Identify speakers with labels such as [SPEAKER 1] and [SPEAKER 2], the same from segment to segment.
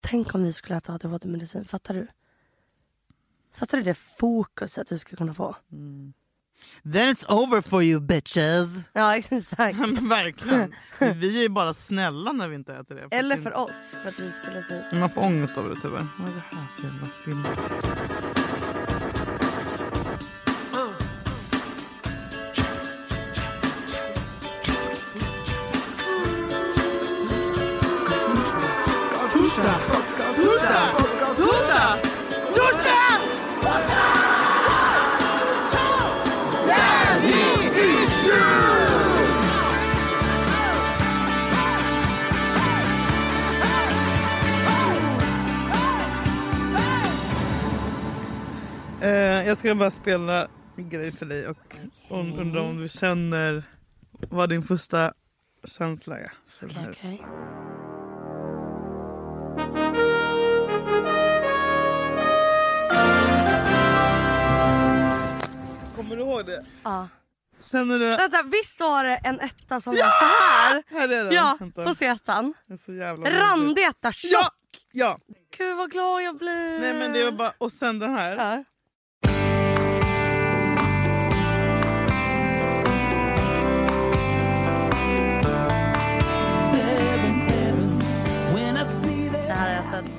[SPEAKER 1] Tänk om vi skulle äta ADHD-medicin, fattar du? Fattar du det fokuset vi skulle kunna få?
[SPEAKER 2] Then it's over for you bitches.
[SPEAKER 1] Ja exakt.
[SPEAKER 2] Men Verkligen. Vi är bara snälla när vi inte äter det.
[SPEAKER 1] Eller för oss, för att vi skulle typ...
[SPEAKER 2] Man får ångest av det tyvärr. Vad är det här för jävla film? Eh, jag ska bara spela en grej för dig och un- undra om du känner vad din första känsla är. för den
[SPEAKER 1] Okej,
[SPEAKER 2] här.
[SPEAKER 1] okej.
[SPEAKER 2] Kommer du ihåg det?
[SPEAKER 1] Ja.
[SPEAKER 2] Känner du?
[SPEAKER 1] Vänta, visst var det en etta som var så här?
[SPEAKER 2] Här är den.
[SPEAKER 1] Ja,
[SPEAKER 2] Vänta.
[SPEAKER 1] på setan.
[SPEAKER 2] Det är så jävla roligt.
[SPEAKER 1] Randig etta, tjock!
[SPEAKER 2] Ja! Ja!
[SPEAKER 1] Gud vad glad jag blir.
[SPEAKER 2] Nej men det var bara... Och sen den här.
[SPEAKER 1] Ja. Det här har jag sett.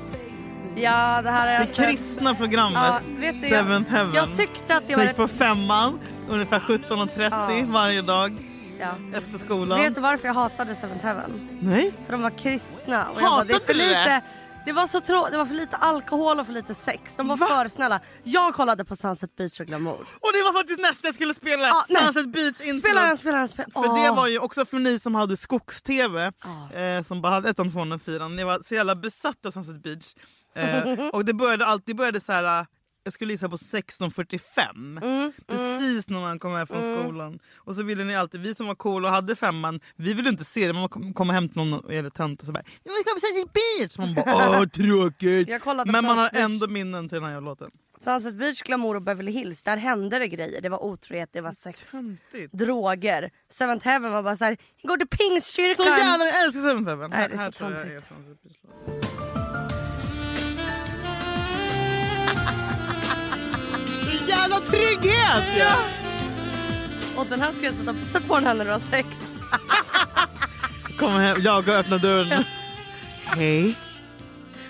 [SPEAKER 1] Ja, det här har jag
[SPEAKER 2] Det
[SPEAKER 1] sett.
[SPEAKER 2] kristna programmet.
[SPEAKER 1] Alltså, Ja, vet du, jag,
[SPEAKER 2] Seventh Heaven.
[SPEAKER 1] jag tyckte att det
[SPEAKER 2] Så
[SPEAKER 1] var
[SPEAKER 2] gick
[SPEAKER 1] ett...
[SPEAKER 2] på femman ungefär 17.30
[SPEAKER 1] Ja.
[SPEAKER 2] varje dag
[SPEAKER 1] Ja.
[SPEAKER 2] efter skolan.
[SPEAKER 1] Vet du varför jag hatade Seventh Heaven?
[SPEAKER 2] Nej.
[SPEAKER 1] För de var kristna. Och jag
[SPEAKER 2] Hatade
[SPEAKER 1] bara, det, är för
[SPEAKER 2] du det?
[SPEAKER 1] lite, det var så trå- det var för lite alkohol och för lite sex. De var för snälla. Jag kollade på Sunset Beach och Glamour.
[SPEAKER 2] Och det var faktiskt nästa jag skulle spela.
[SPEAKER 1] Ja, nej.
[SPEAKER 2] Sunset Beach Intro.
[SPEAKER 1] Spela den, spela den, spela
[SPEAKER 2] För det
[SPEAKER 1] Åh.
[SPEAKER 2] var ju också för ni som hade skogs-tv
[SPEAKER 1] Ah.
[SPEAKER 2] eh, som bara hade ettan, tvåan och fyran. Ni var så jävla besatta av Sunset Beach. Eh, och det började alltid började så här. eh, Jag skulle gissa på 16.45.
[SPEAKER 1] Mm,
[SPEAKER 2] Precis när man kom hem från skolan. Och så ville ni alltid, vi som var coola och hade femman, vi ville inte se det. Man kom, kom hem till någon eller tant och så bara “Nu ska vi se Sunset Beach!” Man bara “Åh tråkigt!”
[SPEAKER 1] Jag kollade på
[SPEAKER 2] Men man har
[SPEAKER 1] Sunset Beach.
[SPEAKER 2] ändå minnen till den här jävla låten.
[SPEAKER 1] Sunset Beach, Glamour och Beverly Hills. Där hände det grejer. Det var otrohet, det var sex,
[SPEAKER 2] Töntigt.
[SPEAKER 1] droger. Seventh Heaven var bara så här, går till
[SPEAKER 2] Så
[SPEAKER 1] pingstkyrkan.
[SPEAKER 2] jävla, jag älskar Seventh Heaven.
[SPEAKER 1] Nej, det är så
[SPEAKER 2] Här tror jag
[SPEAKER 1] töntigt.
[SPEAKER 2] är Sunset Beach-låten. Så jävla trygghet! Ja.
[SPEAKER 1] Och den här ska jag sätta, sätt på den här när du har sex.
[SPEAKER 2] Kom hem, jag och öppna dörren. Hej.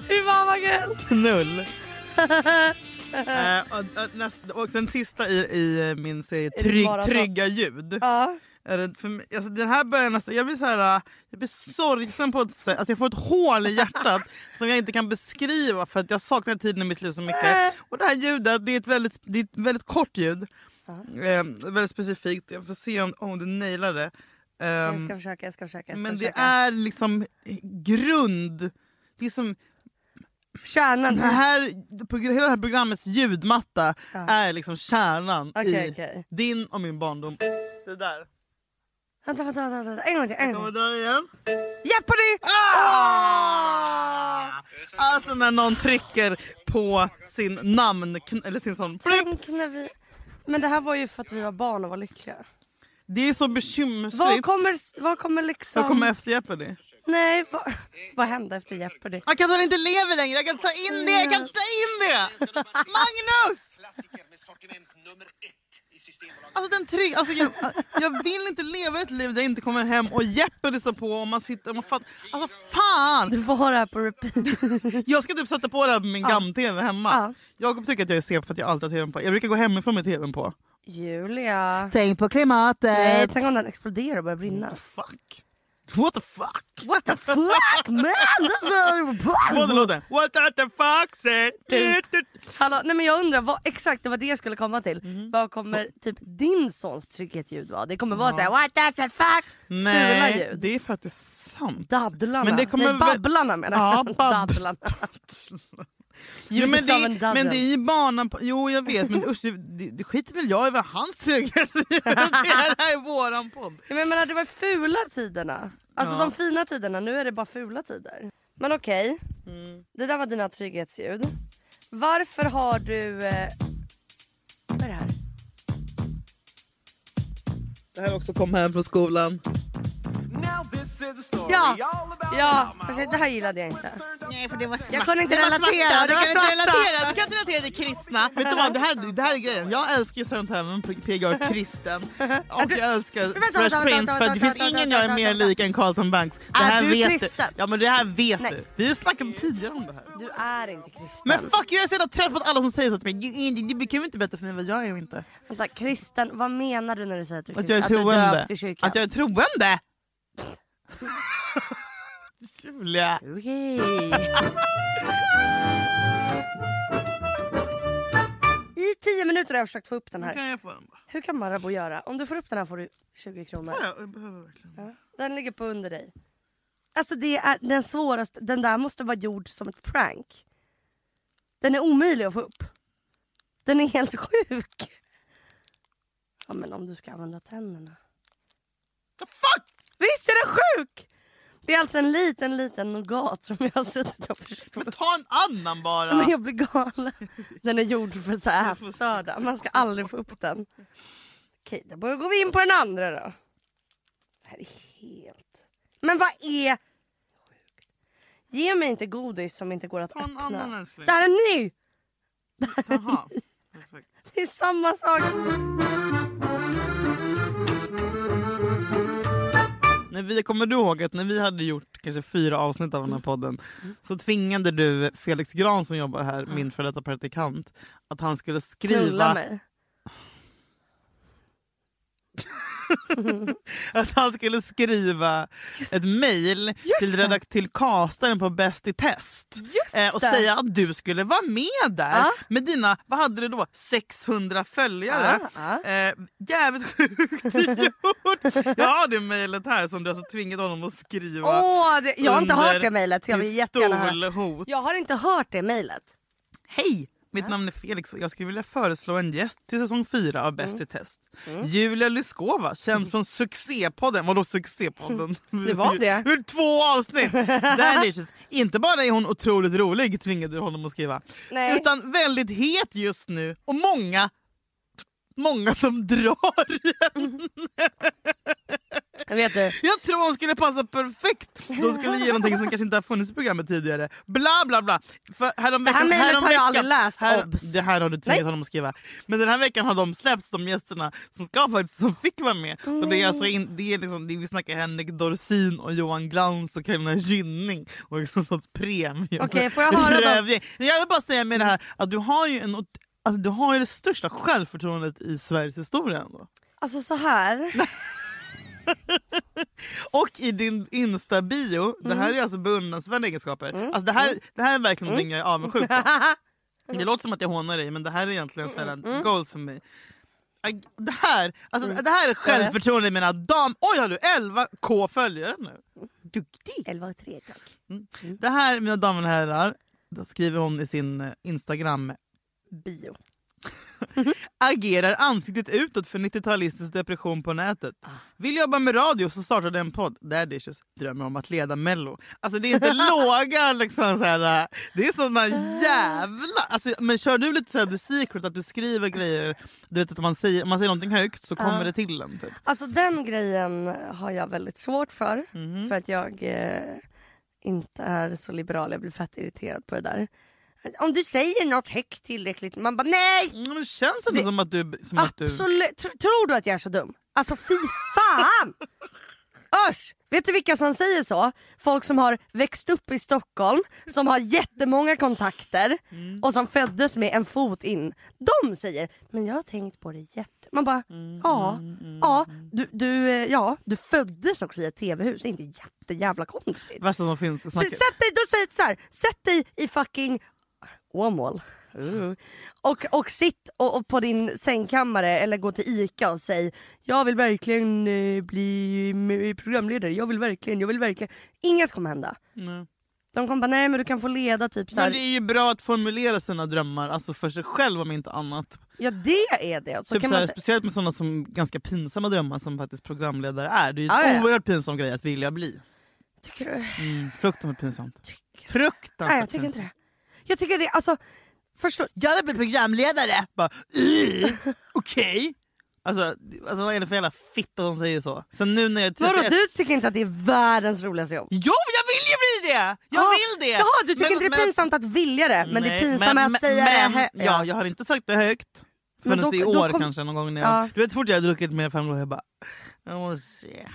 [SPEAKER 1] Fy fan vad gött!
[SPEAKER 2] Knull. Eh, och, och, nästa, och sen sista i, i min serie
[SPEAKER 1] det
[SPEAKER 2] Trygg,
[SPEAKER 1] bara så?
[SPEAKER 2] Trygga ljud.
[SPEAKER 1] Ja.
[SPEAKER 2] Är det för mig, alltså den här börjar nästan, jag blir så här, äh, jag blir sorgsen på ett sätt. Alltså jag får ett hål i hjärtat som jag inte kan beskriva för att jag saknar tiden i mitt liv så mycket.
[SPEAKER 1] Äh.
[SPEAKER 2] Och det här ljudet, det är ett väldigt, det är ett väldigt kort ljud. Eh, väldigt specifikt. Jag får se om, om du nailar det.
[SPEAKER 1] Jag
[SPEAKER 2] Ehm,
[SPEAKER 1] ska försöka, jag ska försöka. Jag ska
[SPEAKER 2] men det
[SPEAKER 1] försöka.
[SPEAKER 2] är liksom grund. Det är som,
[SPEAKER 1] Kärnan.
[SPEAKER 2] det här, progr- hela det här programmets ljudmatta är liksom kärnan
[SPEAKER 1] Okej,
[SPEAKER 2] i
[SPEAKER 1] okej.
[SPEAKER 2] din och min barndom. Det där.
[SPEAKER 1] Vänta, vänta, vänta, vänta. En gång till, en
[SPEAKER 2] Kan
[SPEAKER 1] gång
[SPEAKER 2] man
[SPEAKER 1] till.
[SPEAKER 2] dra det igen?
[SPEAKER 1] Jeopardy!
[SPEAKER 2] Ah! Alltså när någon trycker på sin namn kn- eller sin sån flipp.
[SPEAKER 1] Tänk när vi... Men det här var ju för att vi var barn och var lyckliga.
[SPEAKER 2] Det är så
[SPEAKER 1] Vad
[SPEAKER 2] bekymmersfritt.
[SPEAKER 1] kommer, vad kommer liksom...
[SPEAKER 2] Jag kommer efter Jeopardy.
[SPEAKER 1] Nej, vad, vad hände efter Jeopardy?
[SPEAKER 2] Jag kan inte lever längre, jag kan ta in det, jag kan ta in det! Magnus!
[SPEAKER 3] Klassiker med sortiment nummer ett i Systembolaget.
[SPEAKER 2] Alltså den trygg, alltså jag, jag vill inte leva ett liv där jag inte kommer hem och Jeopardy står på och man sitter och man fattar. Alltså fan!
[SPEAKER 1] Du får ha det här på repeat.
[SPEAKER 2] Jag ska typ sätta på det här på min gam-tv hemma.
[SPEAKER 1] Ja.
[SPEAKER 2] Jakob tycker att jag är seg för att jag alltid har tvn på. Jag brukar gå hemifrån med tvn på. Eh,
[SPEAKER 1] Julia.
[SPEAKER 2] Tänk på klimatet!
[SPEAKER 1] Nej, tänk om den exploderar och börjar brinna.
[SPEAKER 2] Fuck. What the fuck?
[SPEAKER 1] What the fuck man! Alltså,
[SPEAKER 2] Vad låten? What the fuck? said-
[SPEAKER 1] Hallå, nej men jag undrar vad, exakt det var det jag skulle komma till.
[SPEAKER 2] Mm.
[SPEAKER 1] Vad kommer typ din sons trygghetsljud vara? Det kommer vara såhär what the fuck? Fula
[SPEAKER 2] Nej,
[SPEAKER 1] ljud.
[SPEAKER 2] det är faktiskt sant.
[SPEAKER 1] Daddlarna.
[SPEAKER 2] Men det
[SPEAKER 1] nej,
[SPEAKER 2] kommer väl-
[SPEAKER 1] babblarna menar
[SPEAKER 2] Ja,
[SPEAKER 1] jag.
[SPEAKER 2] babb-
[SPEAKER 1] Dabblarna.
[SPEAKER 2] Jo,
[SPEAKER 1] Ljudet
[SPEAKER 2] men, det,
[SPEAKER 1] av en
[SPEAKER 2] är-
[SPEAKER 1] daddel.
[SPEAKER 2] men det är ju banan på... Jo, jag vet. Men usch, det, det, det skiter väl jag i vad hans trygghet gör. Det här är våran podd.
[SPEAKER 1] Ja, Men jag menar det var fula tiderna. Alltså
[SPEAKER 2] Ja.
[SPEAKER 1] de fina tiderna, nu är det bara fula tider. Men okej,
[SPEAKER 2] Mm.
[SPEAKER 1] det där var dina trygghetsljud. Varför har du... Eh... Vad är det här?
[SPEAKER 2] Det här också kom hem från skolan.
[SPEAKER 1] Ja! Ja, fast det här gillade jag inte.
[SPEAKER 2] Nej, för det var
[SPEAKER 1] Jag kunde inte
[SPEAKER 2] det var
[SPEAKER 1] relatera,
[SPEAKER 2] svarta.
[SPEAKER 1] det
[SPEAKER 2] Du
[SPEAKER 1] var
[SPEAKER 2] kan inte
[SPEAKER 1] svarta.
[SPEAKER 2] relatera. Du kan inte relatera till kristna. Vet du vad, det här, det här är grejen. Jag älskar ju Sören Tällberg, P- PGA och kristen. Och jag älskar
[SPEAKER 1] vänta, vänta,
[SPEAKER 2] Fresh Prince för
[SPEAKER 1] vänta,
[SPEAKER 2] att det finns
[SPEAKER 1] vänta,
[SPEAKER 2] ingen
[SPEAKER 1] vänta,
[SPEAKER 2] jag är mer
[SPEAKER 1] vänta.
[SPEAKER 2] lik än Carlton Banks. Det
[SPEAKER 1] Är
[SPEAKER 2] här
[SPEAKER 1] du
[SPEAKER 2] vet
[SPEAKER 1] kristen?
[SPEAKER 2] Ja men det här vet
[SPEAKER 1] Nej.
[SPEAKER 2] du. Vi har ju snackat tidigare om det här.
[SPEAKER 1] Du är inte kristen.
[SPEAKER 2] Men fuck jag är så jävla trött på att alla som säger så till mig. "Du är inte- Du kan ju inte berätta för mig vad jag är och inte.
[SPEAKER 1] Vänta, kristen, vad menar du när du säger att du är
[SPEAKER 2] Att jag
[SPEAKER 1] kristen? Att
[SPEAKER 2] är
[SPEAKER 1] du är
[SPEAKER 2] troende.
[SPEAKER 1] döpt i kyrkan?
[SPEAKER 2] Att jag är troende! Julia.
[SPEAKER 1] Okej. I tio minuter har jag försökt få upp den här.
[SPEAKER 2] Kan jag få den bara?
[SPEAKER 1] Hur kan Marabou göra? Om du får upp den här får du 20 kronor.
[SPEAKER 2] Ja, jag behöver verkligen.
[SPEAKER 1] Den ligger på under dig. Alltså det är den svåraste. Den där måste vara gjord som ett prank. Den är omöjlig att få upp. Den är helt sjuk. Ja men om du ska använda tänderna.
[SPEAKER 2] The fuck!
[SPEAKER 1] Visst är den sjuk? Det är alltså en liten liten nougat som jag har suttit och försökt få upp.
[SPEAKER 2] Men ta en annan bara!
[SPEAKER 1] Men jag blir galen. Den är gjord för så här ätstörda. Man ska aldrig få upp den. Okej, då börjar- går vi in på den andra då. Det här är helt... Men vad är... Sjukt. Ge mig inte godis som inte går att
[SPEAKER 2] Ta en annan
[SPEAKER 1] öppna.
[SPEAKER 2] älskling.
[SPEAKER 1] Det här är ny!
[SPEAKER 2] Jaha. Perfekt.
[SPEAKER 1] Det är samma sak.
[SPEAKER 2] När vi kommer du ihåg att när vi hade gjort kanske fyra avsnitt av den här podden så tvingade du Felix Gran som jobbar här, min före detta praktikant, att han skulle
[SPEAKER 1] Knulla
[SPEAKER 2] skriva
[SPEAKER 1] mig.
[SPEAKER 2] att han skulle skriva ett mejl till, redakt- till castaren på Bäst i test eh, och
[SPEAKER 1] det.
[SPEAKER 2] säga att du skulle vara med där
[SPEAKER 1] Ja.
[SPEAKER 2] med dina, vad hade du då, 600 följare.
[SPEAKER 1] Ja,
[SPEAKER 2] Eh, jävligt sjukt gjort! Jag har det mejlet här som du alltså tvingat honom att skriva.
[SPEAKER 1] Åh, det, jag har inte
[SPEAKER 2] under
[SPEAKER 1] hört det mejlet. Jag vill jättegärna höra.
[SPEAKER 2] Pistolhot.
[SPEAKER 1] Jag har inte hört det mejlet.
[SPEAKER 2] Hej! Mitt namn är Felix och jag skulle vilja föreslå en gäst till säsong 4 av
[SPEAKER 1] Mm.
[SPEAKER 2] Bäst i test. Julia Lyskova, känd från succépodden. Vadå succépodden?
[SPEAKER 1] Det var det.
[SPEAKER 2] Ur två avsnitt! Delicious. Inte bara är hon otroligt rolig, tvingade du honom att skriva.
[SPEAKER 1] Nej.
[SPEAKER 2] Utan väldigt het just nu och många Många som drar i henne.
[SPEAKER 1] Vet du?
[SPEAKER 2] Jag tror hon skulle passa perfekt. De skulle ge någonting som kanske inte har funnits i programmet tidigare. Bla bla bla. För häromveckan,
[SPEAKER 1] Det här mejlet har jag
[SPEAKER 2] häromveckan-
[SPEAKER 1] aldrig läst, obs.
[SPEAKER 2] här, Det här har du
[SPEAKER 1] Nej.
[SPEAKER 2] tvingat honom att skriva. Men den här veckan har de släppts, de gästerna som ska faktiskt, som fick vara med. Och det är
[SPEAKER 1] Mm.
[SPEAKER 2] alltså in, det är liksom, det är, vi snackar Henrik Dorsin och Johan Glans och Carolina Gynning. Och liksom sånt premium.
[SPEAKER 1] Okej, får jag höra dem?
[SPEAKER 2] Rövgäng. Jag vill bara säga med det här att du har ju en ot- Alltså, du har ju det största självförtroendet i Sveriges historia. Ändå.
[SPEAKER 1] Alltså så här.
[SPEAKER 2] Och i din Insta-bio, det här är alltså beundransvärda egenskaper. Alltså det, här, det här är verkligen någonting jag är avundsjuk på. Det låter som att jag hånar dig men det här är egentligen så här en goals för mig. Ag- Det här, alltså, det här är självförtroende i mina dam... Oj, har du 11k följare nu? Duktig!
[SPEAKER 1] 11 och 3 tack.
[SPEAKER 2] Det här, mina damer och herrar, då skriver hon i sin eh, Instagram
[SPEAKER 1] Bio.
[SPEAKER 2] agerar ansiktet utåt för 90-talistisk depression på nätet.
[SPEAKER 1] Ah.
[SPEAKER 2] Vill jobba med radio så startade en podd, Daddishes, drömmer om att leda mello. Alltså det är inte låga liksom så här. äh, det är såna
[SPEAKER 1] Ah.
[SPEAKER 2] jävla... Alltså, men kör du lite så här the secret att du skriver grejer, du vet att om man säger, om man säger någonting högt så
[SPEAKER 1] Ah.
[SPEAKER 2] kommer det till en typ.
[SPEAKER 1] Alltså den grejen har jag väldigt svårt för. För att jag eh, inte är så liberal. Jag blir fett irriterad på det där. Om du säger något högt tillräckligt, man bara nej!
[SPEAKER 2] Mm, men känns det,
[SPEAKER 1] Det-
[SPEAKER 2] som att du... Som att du
[SPEAKER 1] Absolut! Tr- tror du att jag är så dum? Alltså fy fan! Usch! Vet du vilka som säger så? Folk som har växt upp i Stockholm, som har jättemånga kontakter
[SPEAKER 2] Mm.
[SPEAKER 1] och som föddes med en fot in. De säger “men jag har tänkt på det jätte...” Man bara
[SPEAKER 2] Mm,
[SPEAKER 1] “ja, ja, du, du, eh, ja, du föddes också i ett tv-hus, det är inte jättejävla konstigt”.
[SPEAKER 2] värsta som finns.
[SPEAKER 1] Så,
[SPEAKER 2] Snacka.
[SPEAKER 1] sätt dig, då säger jag så här, sätt dig i fucking Åmål. Uh. Och, och sitt och, och på din sängkammare eller gå till ICA och säg Jag vill verkligen eh, bli m- programledare, jag vill verkligen, jag vill verkligen. Inget kommer hända.
[SPEAKER 2] Nej.
[SPEAKER 1] De kommer bara, nej men du kan få leda typ så här.
[SPEAKER 2] Mm. Men det är ju bra att formulera sina drömmar, alltså för sig själv om inte annat.
[SPEAKER 1] Ja det är det. Så
[SPEAKER 2] typ
[SPEAKER 1] kan
[SPEAKER 2] så
[SPEAKER 1] man
[SPEAKER 2] här,
[SPEAKER 1] inte...
[SPEAKER 2] Speciellt med sådana som ganska pinsamma drömmar som faktiskt programledare är. Det är ju
[SPEAKER 1] Ja,
[SPEAKER 2] en
[SPEAKER 1] ja.
[SPEAKER 2] oerhört pinsam grej att vilja bli.
[SPEAKER 1] Tycker du?
[SPEAKER 2] Mm, fruktansvärt pinsamt.
[SPEAKER 1] Tycker...
[SPEAKER 2] Fruktansvärt
[SPEAKER 1] Nej jag tycker inte det. Jag tycker
[SPEAKER 2] Typ
[SPEAKER 1] det, alltså. Förstå...
[SPEAKER 2] Jag vill bli programledare! Bara, "Ugh, Okej. Alltså, alltså vad är det för jävla fitta som säger så? Sen nu när jag är
[SPEAKER 1] Vadå
[SPEAKER 2] 31
[SPEAKER 1] du tycker inte att det är världens roligaste jobb?
[SPEAKER 2] Jo, jag vill ju bli det! Jag
[SPEAKER 1] Ja.
[SPEAKER 2] vill det!
[SPEAKER 1] Jaha du tycker
[SPEAKER 2] Men-
[SPEAKER 1] inte det är
[SPEAKER 2] men-
[SPEAKER 1] pinsamt att vilja det men det är
[SPEAKER 2] Nej,
[SPEAKER 1] pinsamt
[SPEAKER 2] men-
[SPEAKER 1] att
[SPEAKER 2] men-
[SPEAKER 1] säga
[SPEAKER 2] men,
[SPEAKER 1] det hö-
[SPEAKER 2] ja. jag har inte sagt det högt.
[SPEAKER 1] Men
[SPEAKER 2] Förrän
[SPEAKER 1] då-
[SPEAKER 2] i
[SPEAKER 1] då
[SPEAKER 2] år
[SPEAKER 1] kom-
[SPEAKER 2] kanske. Någon gång när jag,
[SPEAKER 1] Ja.
[SPEAKER 2] Du vet, så fort jag har druckit mer fem gånger, jag bara... Jag måste se.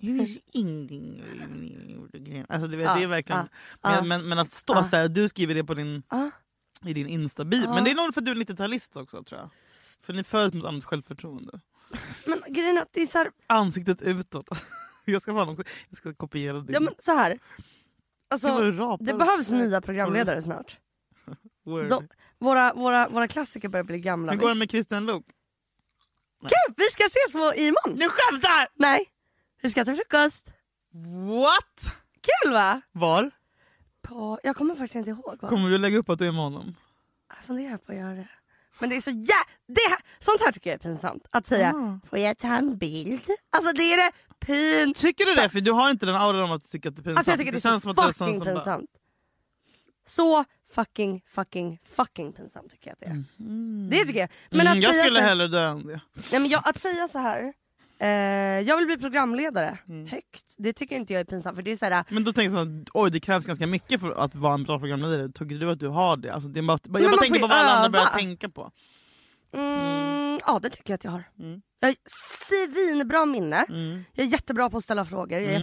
[SPEAKER 2] Det finns ingenting... Alltså, du vet,
[SPEAKER 1] Ja,
[SPEAKER 2] det är verkligen...
[SPEAKER 1] ja, ja.
[SPEAKER 2] men, men, men att stå
[SPEAKER 1] Ja.
[SPEAKER 2] så här, du skriver det på din,
[SPEAKER 1] Ja.
[SPEAKER 2] i din Insta-bio.
[SPEAKER 1] Ja.
[SPEAKER 2] Men det är nog för att du är 90-talist också, tror jag. För ni föds med ett annat självförtroende.
[SPEAKER 1] Men grejen är att det är så här,
[SPEAKER 2] Ansiktet utåt. jag ska fan också, jag ska kopiera din.
[SPEAKER 1] ja, men så här.
[SPEAKER 2] Gud, vad
[SPEAKER 1] Alltså,
[SPEAKER 2] du rapar.
[SPEAKER 1] det behövs nya programledare snart.
[SPEAKER 2] Word.
[SPEAKER 1] De, våra, våra, våra klassiker börjar bli gamla.
[SPEAKER 2] Hur går det med Christian Luuk?
[SPEAKER 1] Kul! Vi ska ses på imorgon!
[SPEAKER 2] Du skämtar!
[SPEAKER 1] Nej, vi ska äta frukost.
[SPEAKER 2] What?
[SPEAKER 1] Kul va?
[SPEAKER 2] Var?
[SPEAKER 1] På, jag kommer faktiskt inte ihåg. Vad.
[SPEAKER 2] Kommer du lägga upp att du är med honom?
[SPEAKER 1] Jag funderar på att göra det. Men det är så jä... Det här, sånt här tycker jag är pinsamt. Att säga
[SPEAKER 2] Ah.
[SPEAKER 1] “får jag ta en bild?” Alltså det är det pinsamt.
[SPEAKER 2] Tycker du det? För du har inte den auran om att du tycker att det är pinsamt.
[SPEAKER 1] Alltså jag tycker det, är
[SPEAKER 2] känns
[SPEAKER 1] så
[SPEAKER 2] som att du är sån
[SPEAKER 1] fucking
[SPEAKER 2] som bara-
[SPEAKER 1] pinsamt. Så fucking fucking fucking pinsamt tycker jag att det är. Det tycker jag. Men
[SPEAKER 2] Mm,
[SPEAKER 1] att,
[SPEAKER 2] jag
[SPEAKER 1] säga
[SPEAKER 2] skulle
[SPEAKER 1] så,
[SPEAKER 2] hellre dö än det.
[SPEAKER 1] nej, men jag, att säga så här. Eh, jag vill bli programledare
[SPEAKER 2] Mm.
[SPEAKER 1] högt. Det tycker inte jag är pinsamt. För det är så här,
[SPEAKER 2] Men då tänker jag så att oj det krävs ganska mycket för att vara en bra programledare. Tycker du att du har det? Alltså, det är bara, jag
[SPEAKER 1] man
[SPEAKER 2] bara
[SPEAKER 1] får
[SPEAKER 2] tänker
[SPEAKER 1] ju
[SPEAKER 2] på vad alla
[SPEAKER 1] öva.
[SPEAKER 2] andra börjar tänka på.
[SPEAKER 1] Mm, ja det tycker jag att jag har.
[SPEAKER 2] Mm.
[SPEAKER 1] Jag har svinbra minne.
[SPEAKER 2] Mm.
[SPEAKER 1] Jag är jättebra på att ställa frågor. Jag är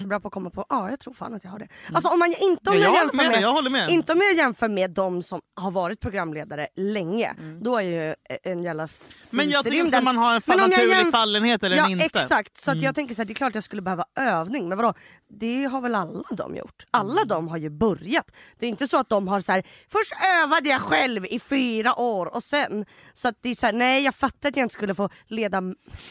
[SPEAKER 1] jättebra på att komma på, ja jag tror fan att jag har det. Alltså om man inte om
[SPEAKER 2] Mm.
[SPEAKER 1] jag, jämför
[SPEAKER 2] Ja, jag håller med
[SPEAKER 1] med,
[SPEAKER 2] dig, jag håller med.
[SPEAKER 1] Inte om jag jämför med de som har varit programledare länge. Då är jag ju en jävla fis
[SPEAKER 2] Mm. Men jag
[SPEAKER 1] i
[SPEAKER 2] tycker också
[SPEAKER 1] rymden.
[SPEAKER 2] att man har en
[SPEAKER 1] Men om jag
[SPEAKER 2] naturlig
[SPEAKER 1] jämf-
[SPEAKER 2] fallenhet eller
[SPEAKER 1] Ja
[SPEAKER 2] en inte. Mm.
[SPEAKER 1] exakt, så att jag tänker så här, det är klart jag skulle behöva övning. Men vadå, det har väl alla de gjort? Alla
[SPEAKER 2] Mm.
[SPEAKER 1] de har ju börjat. Det är inte så att de har så här, först övade jag själv i fyra år och sen. Så att det är så här, nej jag fattar att jag inte skulle få leda.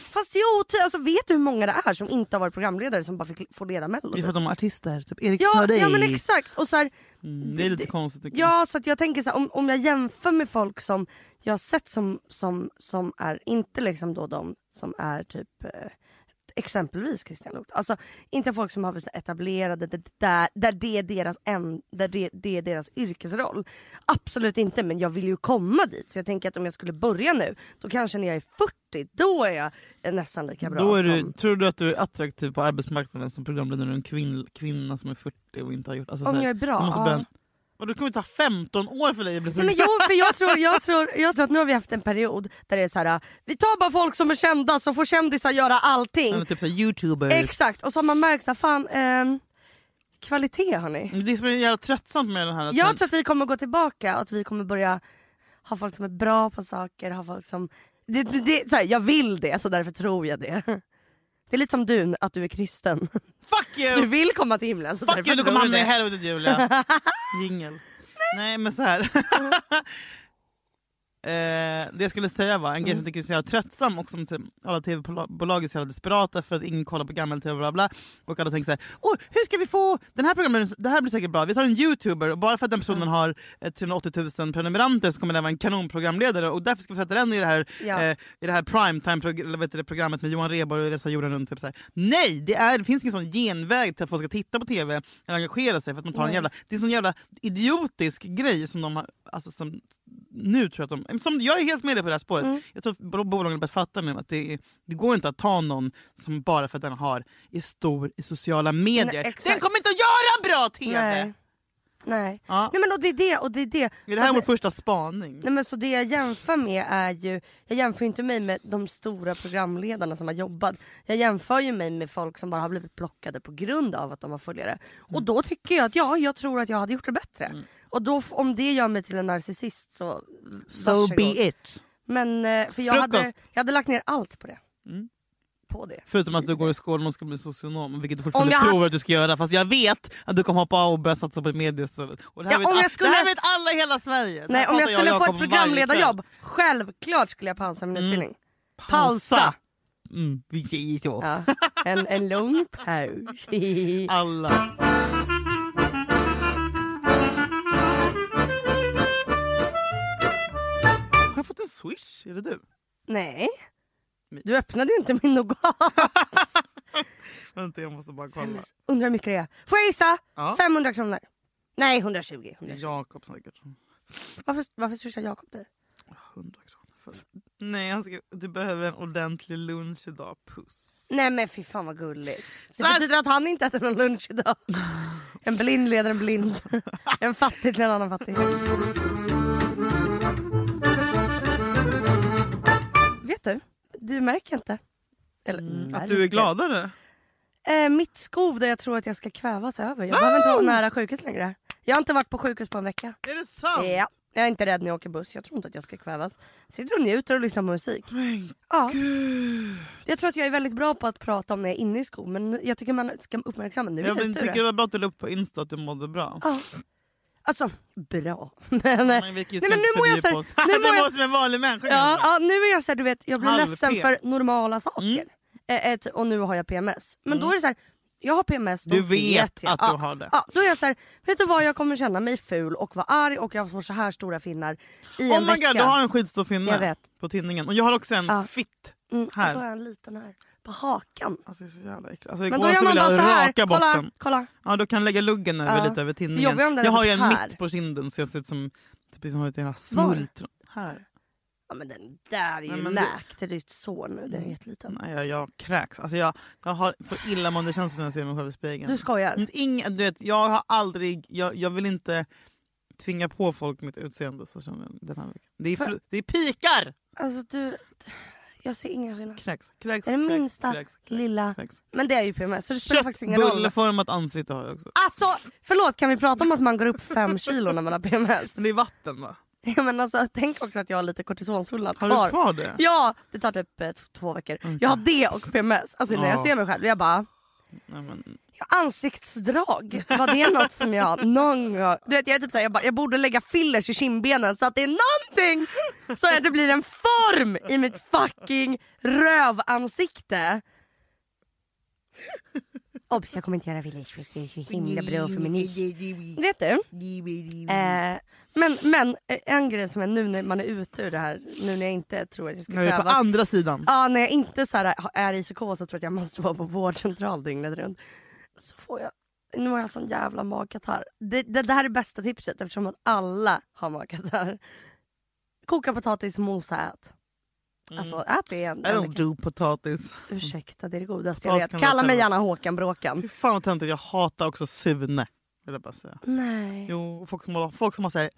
[SPEAKER 1] Fast jo, ty, alltså, vet du hur många det är som inte har varit programledare som bara fick få leda mello?
[SPEAKER 2] Det är
[SPEAKER 1] typ?
[SPEAKER 2] för att de är artister. Typ Erik
[SPEAKER 1] Ja,
[SPEAKER 2] Saade.
[SPEAKER 1] ja men exakt. Och så här,
[SPEAKER 2] Mm, det är lite konstigt tycker jag.
[SPEAKER 1] ja, så att jag tänker så här, om, om jag jämför med folk som jag har sett som, som, som är inte liksom då de som är typ eh, exempelvis Kristian Luuk. Alltså inte folk som har varit så etablerade där, där, där, det, är deras en, där det, det är deras yrkesroll. Absolut inte men jag vill ju komma dit. Så jag tänker att om jag skulle börja nu då kanske när jag är 40 då är jag eh, nästan lika bra
[SPEAKER 2] Då är du,
[SPEAKER 1] som...
[SPEAKER 2] tror du att du är attraktiv på arbetsmarknaden som programledare när du är en kvinn, kvinna som är 40 och inte har gjort... Alltså,
[SPEAKER 1] Om
[SPEAKER 2] så här,
[SPEAKER 1] jag är bra,
[SPEAKER 2] du måste
[SPEAKER 1] ja.
[SPEAKER 2] börja- Vadå, det kommer ta 15 år för dig att bli
[SPEAKER 1] Nej, men
[SPEAKER 2] programledare.
[SPEAKER 1] jo, för jag tror, jag, tror, jag tror att nu har vi haft en period där det är så här: vi tar bara folk som är kända så får kändisar göra allting.
[SPEAKER 2] Eller typ såhär youtubers.
[SPEAKER 1] Exakt, och så har man märkt såhär, fan ehm, kvalitet hörni.
[SPEAKER 2] Men det som är jävla tröttsamt med den här... att man-
[SPEAKER 1] Jag tror att vi kommer gå tillbaka och att vi kommer börja ha folk som är bra på saker, ha folk som... Det, det, det, så här, jag vill det så därför tror jag det. Det är lite som du, att du är kristen.
[SPEAKER 2] Fuck you!
[SPEAKER 1] Du vill komma till himlen så
[SPEAKER 2] Fuck
[SPEAKER 1] därför
[SPEAKER 2] you, du
[SPEAKER 1] tror
[SPEAKER 2] kommer
[SPEAKER 1] du
[SPEAKER 2] hamna i
[SPEAKER 1] det.
[SPEAKER 2] helvetet Julia. Jingel. Nej. men så här. Eh, det jag skulle säga var, en grej som jag tycker är så jävla tröttsam och som typ, alla tv-bolag är så jävla desperata för att ingen kollar på gammal tv bla bla. Och alla tänker så här, Åh, hur ska vi få den här programmet, det här blir säkert bra. Vi tar en youtuber och bara för att den personen har eh, 380 000 prenumeranter så kommer den vara en kanonprogramledare och därför ska vi sätta den i det här,
[SPEAKER 1] Ja.
[SPEAKER 2] eh, i det här primetime-programmet med Johan Rheborg och Resa jorden runt. Typ så här. Nej, det, är, det finns ingen sån genväg till att folk ska titta på tv eller engagera sig för att man tar en jävla, det är en sån jävla idiotisk grej som de har, alltså som nu tror jag att de... Som, jag är helt med dig på det här spåret.
[SPEAKER 1] Mm.
[SPEAKER 2] Jag tror att bol- bolagen har börjat fatta nu att det, är, det går inte att ta någon som bara för att den har är stor i sociala medier.
[SPEAKER 1] exakt.
[SPEAKER 2] den kommer inte att göra bra TV!
[SPEAKER 1] Nej. Nej.
[SPEAKER 2] Ja.
[SPEAKER 1] Nej men och det är det och det är det.
[SPEAKER 2] Är
[SPEAKER 1] Så
[SPEAKER 2] det här
[SPEAKER 1] att-
[SPEAKER 2] vår första spaning?
[SPEAKER 1] Nej men så det jag jämför med är ju, jag jämför ju inte mig med de stora programledarna som har jobbat. Jag jämför ju mig med folk som bara har blivit plockade på grund av att de var följare.
[SPEAKER 2] Mm.
[SPEAKER 1] Och då tycker jag att ja, jag tror att jag hade gjort det bättre. Och då, f- om det gör mig till en narcissist så
[SPEAKER 2] So
[SPEAKER 1] varsågod.
[SPEAKER 2] be it!
[SPEAKER 1] Men eh, för jag
[SPEAKER 2] Frukost. Mm.
[SPEAKER 1] hade, jag hade lagt ner allt på det. På det.
[SPEAKER 2] Förutom att du går i skolan och ska bli socionom, vilket du
[SPEAKER 1] Om
[SPEAKER 2] fortfarande
[SPEAKER 1] jag
[SPEAKER 2] tror att du ska göra. Fast jag vet att du kommer hoppa av och börja satsa på media istället. Och det, här
[SPEAKER 1] Ja,
[SPEAKER 2] vet
[SPEAKER 1] om jag
[SPEAKER 2] all-
[SPEAKER 1] skulle-
[SPEAKER 2] det här vet alla i hela Sverige. Det
[SPEAKER 1] Nej
[SPEAKER 2] här
[SPEAKER 1] om jag
[SPEAKER 2] pratar
[SPEAKER 1] skulle
[SPEAKER 2] och
[SPEAKER 1] få
[SPEAKER 2] Jakob
[SPEAKER 1] ett
[SPEAKER 2] varje
[SPEAKER 1] programledarjobb,
[SPEAKER 2] kväll. Mm.
[SPEAKER 1] självklart skulle jag pausa min utbildning.
[SPEAKER 2] Pausa! Mm, vi säger så.
[SPEAKER 1] Ja, en, en lång paus.
[SPEAKER 2] Alla. Swish, är det du?
[SPEAKER 1] Nej,
[SPEAKER 2] Mys.
[SPEAKER 1] du öppnade ju inte min nougat.
[SPEAKER 2] Vänta, jag måste bara kolla.
[SPEAKER 1] Men Undrar hur mycket det är. Får jag gissa?
[SPEAKER 2] Ja.
[SPEAKER 1] 500 kronor. Nej 120. 120.
[SPEAKER 2] Jakob säkert.
[SPEAKER 1] Varför, varför swishar Jakob dig?
[SPEAKER 2] 100 kronor. För... Nej, han skrev, du behöver en ordentlig lunch idag. Puss.
[SPEAKER 1] Nej men fy fan vad gulligt. Det
[SPEAKER 2] Så här-
[SPEAKER 1] betyder att han inte äter någon lunch idag. En blind leder en blind. En fattig till en annan fattig. Vet du? Du märker inte. Eller,
[SPEAKER 2] Mm,
[SPEAKER 1] mm,
[SPEAKER 2] Att
[SPEAKER 1] märker.
[SPEAKER 2] du är gladare?
[SPEAKER 1] Eh, mitt skov där jag tror att jag ska kvävas över. Jag behöver inte vara nära sjukhus längre. Jag har inte varit på sjukhus på en vecka.
[SPEAKER 2] Är det sant?
[SPEAKER 1] Ja. Jag är inte rädd när jag åker buss. Jag tror inte att jag ska kvävas. Sitter och njuter och lyssnar på musik.
[SPEAKER 2] Men
[SPEAKER 1] Ja.
[SPEAKER 2] gud.
[SPEAKER 1] Jag tror att jag är väldigt bra på att prata om när jag är inne i skon. Men jag tycker man ska uppmärksamma nu är
[SPEAKER 2] Jag
[SPEAKER 1] jag
[SPEAKER 2] men,
[SPEAKER 1] ute ur
[SPEAKER 2] tycker
[SPEAKER 1] det.
[SPEAKER 2] det var bra att du la upp på Insta att du mådde bra.
[SPEAKER 1] Ja. Alltså, bra. Men, eh,
[SPEAKER 2] Men vi kan ju
[SPEAKER 1] nej, men nu
[SPEAKER 2] inte
[SPEAKER 1] mår jag så
[SPEAKER 2] fördjupa
[SPEAKER 1] här-
[SPEAKER 2] oss.
[SPEAKER 1] nu mår
[SPEAKER 2] Det
[SPEAKER 1] jag-
[SPEAKER 2] var som en vanlig människa.
[SPEAKER 1] Ja, ja, nu är jag så här, du vet, jag blir
[SPEAKER 2] Halv
[SPEAKER 1] ledsen
[SPEAKER 2] P. Mm.
[SPEAKER 1] för normala saker. Eh, eh, och nu har jag PMS. Men då är det så här, jag har PMS, då
[SPEAKER 2] Du vet
[SPEAKER 1] jag.
[SPEAKER 2] att
[SPEAKER 1] ja,
[SPEAKER 2] du har det.
[SPEAKER 1] Ja, då är jag så här, vet du vad jag kommer känna mig ful och vara arg och jag får så här stora finnar i
[SPEAKER 2] Oh
[SPEAKER 1] en
[SPEAKER 2] my
[SPEAKER 1] vecka.
[SPEAKER 2] god, du har en skitstor finne
[SPEAKER 1] Jag vet.
[SPEAKER 2] på tinningen. Och jag har också en
[SPEAKER 1] Ja.
[SPEAKER 2] fitt
[SPEAKER 1] mm,
[SPEAKER 2] här.
[SPEAKER 1] Och så har jag en liten här på hakan.
[SPEAKER 2] Alltså, det är så jävla äckligt. Alltså,
[SPEAKER 1] Men
[SPEAKER 2] igår
[SPEAKER 1] då gör
[SPEAKER 2] så
[SPEAKER 1] man
[SPEAKER 2] ville
[SPEAKER 1] bara så
[SPEAKER 2] jag
[SPEAKER 1] här,
[SPEAKER 2] raka bort
[SPEAKER 1] kolla,
[SPEAKER 2] den.
[SPEAKER 1] kolla.
[SPEAKER 2] Ja, du kan lägga luggen över
[SPEAKER 1] Ja.
[SPEAKER 2] lite över
[SPEAKER 1] Det jobbiga om
[SPEAKER 2] tinningen.
[SPEAKER 1] den
[SPEAKER 2] Jag har ju
[SPEAKER 1] är
[SPEAKER 2] en
[SPEAKER 1] här.
[SPEAKER 2] mitt på kinden så jag ser ut som typ, som har ett jävla smultron. Här.
[SPEAKER 1] Ja men den där är ju
[SPEAKER 2] Nej, men det- Mm.
[SPEAKER 1] läkt, det är ett sår nu, den är jätteliten.
[SPEAKER 2] Nej, jag, jag kräks. Alltså, jag, jag har för illamående känslor när jag ser mig själv i spegeln.
[SPEAKER 1] Du skojar?
[SPEAKER 2] Mm, Ing, du vet, jag har aldrig... Jag, jag vill inte tvinga på folk mitt utseende. Så känner jag den här veckan. Det, är
[SPEAKER 1] För-
[SPEAKER 2] fru, det är pikar!
[SPEAKER 1] Alltså du, du- jag ser ingen skillnad.
[SPEAKER 2] Kräks, kräks,
[SPEAKER 1] Det är den
[SPEAKER 2] kräks,
[SPEAKER 1] minsta
[SPEAKER 2] kräks, kräks,
[SPEAKER 1] lilla.
[SPEAKER 2] kräks.
[SPEAKER 1] Men det är ju PMS så det spelar faktiskt ingen roll.
[SPEAKER 2] Köttbulleformat ansikte har jag också.
[SPEAKER 1] Alltså förlåt kan vi prata om att man går upp fem kilo när man har PMS?
[SPEAKER 2] Men det är vatten va?
[SPEAKER 1] Ja, men alltså, tänk också att jag har lite kortisonsvullnad
[SPEAKER 2] Har
[SPEAKER 1] kvar.
[SPEAKER 2] du kvar det?
[SPEAKER 1] Ja, det tar typ eh, t- två veckor. Jag har det och PMS. Alltså när jag
[SPEAKER 2] Ja.
[SPEAKER 1] ser mig själv, jag bara...
[SPEAKER 2] Nej, men,
[SPEAKER 1] ja, Ansiktsdrag, var det något som jag någon gång... Du vet, jag, är typ såhär, jag, bara, jag borde lägga fillers i kindbenen så att det är någonting så att det blir en form i mitt fucking rövansikte. Obs, jag kommer inte göra fillers för det är så himla bra för min nisch. Vet du? Eh, men men eh, en grej som är nu när man är ute ur det här, nu när jag inte tror att jag ska
[SPEAKER 2] när vi är på
[SPEAKER 1] krävas.
[SPEAKER 2] andra sidan.
[SPEAKER 1] Ja, när jag inte så här, är i psykos och tror att jag måste vara på vårdcentral dygnet runt. Så får jag, nu har jag sån jävla magkatarr. Det, det, det här är bästa tipset eftersom att alla har magkatarr. Koka potatis, mos och ät.
[SPEAKER 2] Mm.
[SPEAKER 1] Alltså ät det igen.
[SPEAKER 2] I don't do potatis.
[SPEAKER 1] Ursäkta, det är det godaste jag
[SPEAKER 2] Potatis
[SPEAKER 1] vet.
[SPEAKER 2] kan vara
[SPEAKER 1] Kalla mig
[SPEAKER 2] sämre.
[SPEAKER 1] gärna Håkan Bråkan.
[SPEAKER 2] Fy fan vad töntigt, jag hatar också Sune. Vill jag bara säga.
[SPEAKER 1] Nej.
[SPEAKER 2] Jo, folk som har, folk som har så här,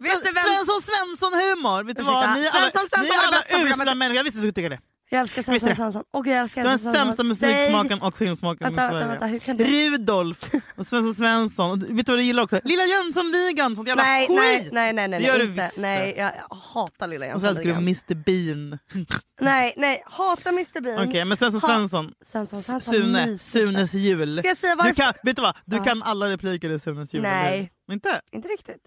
[SPEAKER 1] Vet du vem?
[SPEAKER 2] Svensson Svensson-humor! Vet du vad?
[SPEAKER 1] Ursäkta.
[SPEAKER 2] Ni är alla,
[SPEAKER 1] Svensson Svensson
[SPEAKER 2] ni
[SPEAKER 1] var
[SPEAKER 2] är
[SPEAKER 1] det
[SPEAKER 2] alla
[SPEAKER 1] bästa
[SPEAKER 2] usla
[SPEAKER 1] programmet.
[SPEAKER 2] människor, jag visste du skulle tycka det.
[SPEAKER 1] Jag älskar
[SPEAKER 2] Visst är
[SPEAKER 1] Svensson
[SPEAKER 2] det?
[SPEAKER 1] Svensson. Åh gud jag älskar
[SPEAKER 2] Du har
[SPEAKER 1] Svensson
[SPEAKER 2] den sämsta
[SPEAKER 1] Svensson. Säg-
[SPEAKER 2] musiksmaken och filmsmaken i
[SPEAKER 1] Vänta, vänta, vänta.
[SPEAKER 2] Sverige.
[SPEAKER 1] Hur kan du?
[SPEAKER 2] Rudolf och Svensson Svensson. Och Vet du vad du gillar också? Lilla Jönssonligan, sånt jävla
[SPEAKER 1] Nej,
[SPEAKER 2] skit!
[SPEAKER 1] nej, nej, nej, nej,
[SPEAKER 2] Det gör du
[SPEAKER 1] inte.
[SPEAKER 2] visst.
[SPEAKER 1] nej, jag hatar lilla
[SPEAKER 2] Och så älskar du
[SPEAKER 1] Jönssonligan.
[SPEAKER 2] Mr Bean.
[SPEAKER 1] Nej, nej, hata Mr Bean.
[SPEAKER 2] Okej, men Svensson
[SPEAKER 1] Ha-
[SPEAKER 2] Svensson.
[SPEAKER 1] Svensson,
[SPEAKER 2] S-
[SPEAKER 1] Svensson,
[SPEAKER 2] Sune,
[SPEAKER 1] mys.
[SPEAKER 2] Sunes jul.
[SPEAKER 1] Ska jag säga varför?
[SPEAKER 2] du kan, vet du vad? Du
[SPEAKER 1] Ja.
[SPEAKER 2] kan alla repliker i Sunes jul.
[SPEAKER 1] Nej.
[SPEAKER 2] eller hur? Inte?
[SPEAKER 1] Inte riktigt.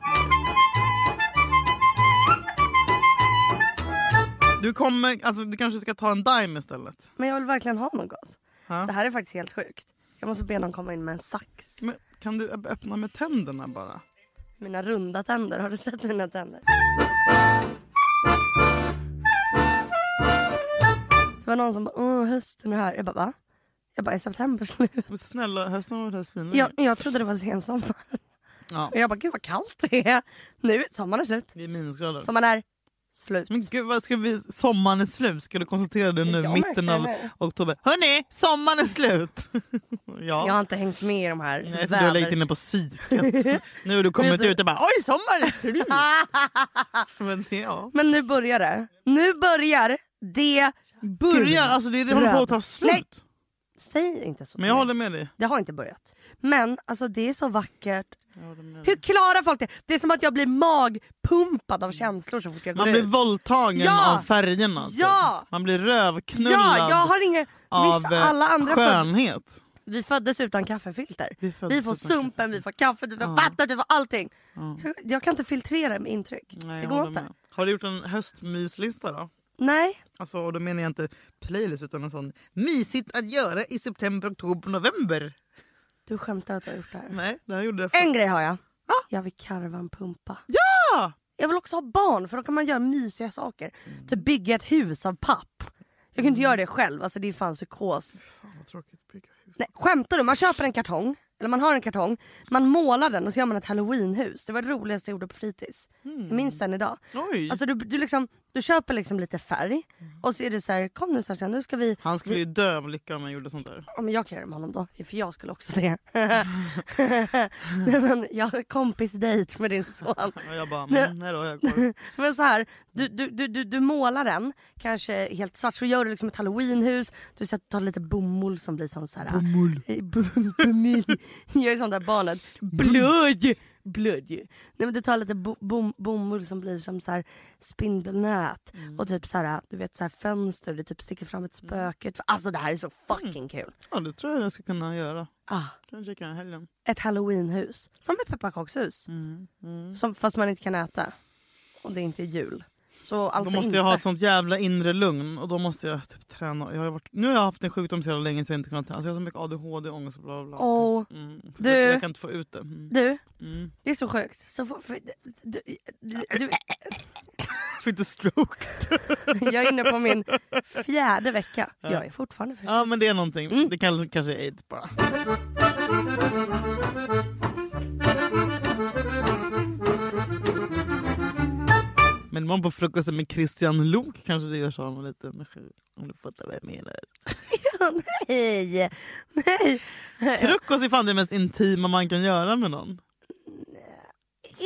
[SPEAKER 2] Du, kommer, alltså, du kanske ska ta en Dime istället?
[SPEAKER 1] Men jag vill verkligen ha något.
[SPEAKER 2] Ja.
[SPEAKER 1] Det här är faktiskt helt sjukt. Jag måste be någon komma in med en sax.
[SPEAKER 2] Men, kan du ö- öppna med tänderna bara?
[SPEAKER 1] Mina runda tänder, har du sett mina tänder? Det var någon som bara åh hösten är här. Jag bara va? Jag bara är september slut?
[SPEAKER 2] Men snälla, hösten har varit här svinlänge.
[SPEAKER 1] Jag, jag trodde det var sensommar.
[SPEAKER 2] Ja.
[SPEAKER 1] Och jag bara gud vad kallt det är. Nu, sommaren är slut.
[SPEAKER 2] Det är minusgrader.
[SPEAKER 1] Sommaren är slut.
[SPEAKER 2] Men gud, vad ska vi, sommaren är slut. Ska du konstatera det nu,
[SPEAKER 1] Jag
[SPEAKER 2] mitten
[SPEAKER 1] märker
[SPEAKER 2] av
[SPEAKER 1] det.
[SPEAKER 2] oktober? Hörni, sommaren är slut! ja.
[SPEAKER 1] Jag har inte hängt med i de här
[SPEAKER 2] Nej, för du har legat inne på psyket. nu har du kommit ut och bara oj, sommaren är slut! Men det, ja.
[SPEAKER 1] Men nu börjar det. Nu börjar det.
[SPEAKER 2] Börjar, alltså det, är- det håller på att ta slut.
[SPEAKER 1] Nej. Säg inte så. till
[SPEAKER 2] Men jag
[SPEAKER 1] mig.
[SPEAKER 2] håller med dig.
[SPEAKER 1] Det har inte börjat. Men alltså det är så vackert.
[SPEAKER 2] Jag håller med dig.
[SPEAKER 1] Hur klarar folk det? Det är som att jag blir magpumpad av känslor så fort jag går
[SPEAKER 2] Man blir
[SPEAKER 1] ut.
[SPEAKER 2] våldtagen
[SPEAKER 1] Ja!
[SPEAKER 2] av färgerna. typ.
[SPEAKER 1] Ja!
[SPEAKER 2] Man blir rövknullad
[SPEAKER 1] Ja, jag har inga...
[SPEAKER 2] av eh,
[SPEAKER 1] Vissa, alla andra föd,
[SPEAKER 2] skönhet.
[SPEAKER 1] vi föddes utan kaffefilter. Vi,
[SPEAKER 2] Vi föddes
[SPEAKER 1] får
[SPEAKER 2] utan
[SPEAKER 1] sumpen, vi får kaffet, vi får vattnet, vi får allting. Så jag kan inte filtrera med intryck.
[SPEAKER 2] Nej,
[SPEAKER 1] det
[SPEAKER 2] jag
[SPEAKER 1] går
[SPEAKER 2] håller
[SPEAKER 1] inte.
[SPEAKER 2] med. Har du gjort en höstmyslista då?
[SPEAKER 1] Nej,
[SPEAKER 2] Alltså, och då menar jag inte playlist utan en sån mysigt att göra i september, oktober, november.
[SPEAKER 1] du skämtar att du har gjort det här.
[SPEAKER 2] Nej, det här gjorde jag för...
[SPEAKER 1] En grej har jag. Jag vill karva en pumpa.
[SPEAKER 2] Ja!
[SPEAKER 1] Jag vill också ha barn för då kan man göra mysiga saker. Typ bygga ett hus av papp. Jag kan inte göra det själv, alltså det är fan psykos.
[SPEAKER 2] Fan vad tråkigt att bygga hus.
[SPEAKER 1] Nej, skämtar du? Man köper en kartong, eller man har en kartong, man målar den och så gör man ett halloweenhus. Det var det roligaste jag gjorde på fritids. Jag minns den idag.
[SPEAKER 2] Hmm. Oj!
[SPEAKER 1] Alltså du, du, liksom, du köper liksom lite färg och så är det så här, kom nu Sasha, nu ska vi...
[SPEAKER 2] han skulle ju dö om lyckan om han gjorde sånt där.
[SPEAKER 1] Ja, men jag kan göra det med honom då, för jag skulle också det. Nej, men jag har kompisdejt med din son.
[SPEAKER 2] Och jag bara, men, nej då, jag går.
[SPEAKER 1] Men så här, du, du, du, du, du målar den, kanske helt svart, så gör du liksom ett halloweenhus. Du sätter- tar lite bomull som blir sån så här... Bomull. bomull. Jag är sånt där barnet. Blöd! Blöd ju. Nej men du tar lite bo, bom, bomull som blir som så här spindelnät. Och typ så här, du vet så här fönster, det typ sticker fram ett spöke. ut. Alltså det här är så fucking kul.
[SPEAKER 2] Ja, det tror jag jag skulle kunna göra.
[SPEAKER 1] Ah,
[SPEAKER 2] Kanske kan jag i helgen.
[SPEAKER 1] ett halloweenhus. Som ett pepparkakshus. Som, fast man inte kan äta. Och det är inte jul. Så alltså
[SPEAKER 2] då måste
[SPEAKER 1] inte.
[SPEAKER 2] jag ha ett sånt jävla inre lugn och då måste jag typ träna. Jag har ju varit, nu har jag haft en sjukdom så jävla länge så jag inte kunnat träna. Alltså jag har så mycket ADHD, ångest och bla bla. bla.
[SPEAKER 1] Åh,
[SPEAKER 2] Mm.
[SPEAKER 1] du.
[SPEAKER 2] Jag, jag kan inte få ut det. Mm.
[SPEAKER 1] Du,
[SPEAKER 2] Mm.
[SPEAKER 1] det är så sjukt. Så, för, för, du, du, du,
[SPEAKER 2] Jag fick inte stroke.
[SPEAKER 1] jag är inne på min fjärde vecka. Jag är fortfarande förkyld.
[SPEAKER 2] Ja men det är någonting. Det kan, kanske är aids bara. Men man på frukosten med Christian Lok kanske det gör så av med lite energi. Om du fattar vad jag menar.
[SPEAKER 1] Nej! Nej!
[SPEAKER 2] Frukost är fan det mest intima man kan göra med någon.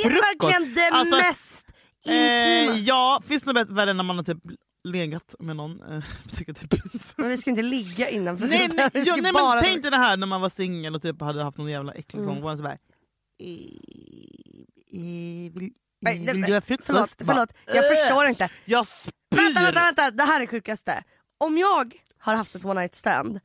[SPEAKER 1] Är det verkligen det
[SPEAKER 2] Alltså,
[SPEAKER 1] mest intima?
[SPEAKER 2] Eh, ja, finns det något värre när man har typ legat med någon? Eh, jag tycker att det är pinsamt.
[SPEAKER 1] Men vi ska inte ligga innanför.
[SPEAKER 2] nej, nej,
[SPEAKER 1] Vi
[SPEAKER 2] ja,
[SPEAKER 1] ska
[SPEAKER 2] nej
[SPEAKER 1] bara- Mm.
[SPEAKER 2] men tänk dig det här när man var singel och typ hade haft någon jävla äcklig sång. Var det så bara, eh, eh, vill, eh,
[SPEAKER 1] Nej, nej,
[SPEAKER 2] vill
[SPEAKER 1] nej,
[SPEAKER 2] du ha frukost?
[SPEAKER 1] Förlåt,
[SPEAKER 2] Bara,
[SPEAKER 1] förlåt. Jag
[SPEAKER 2] "Eh,
[SPEAKER 1] förstår inte.
[SPEAKER 2] Jag spyr!
[SPEAKER 1] Vänta, vänta, vänta. Det här är sjukaste. Om jag har haft ett one night stand,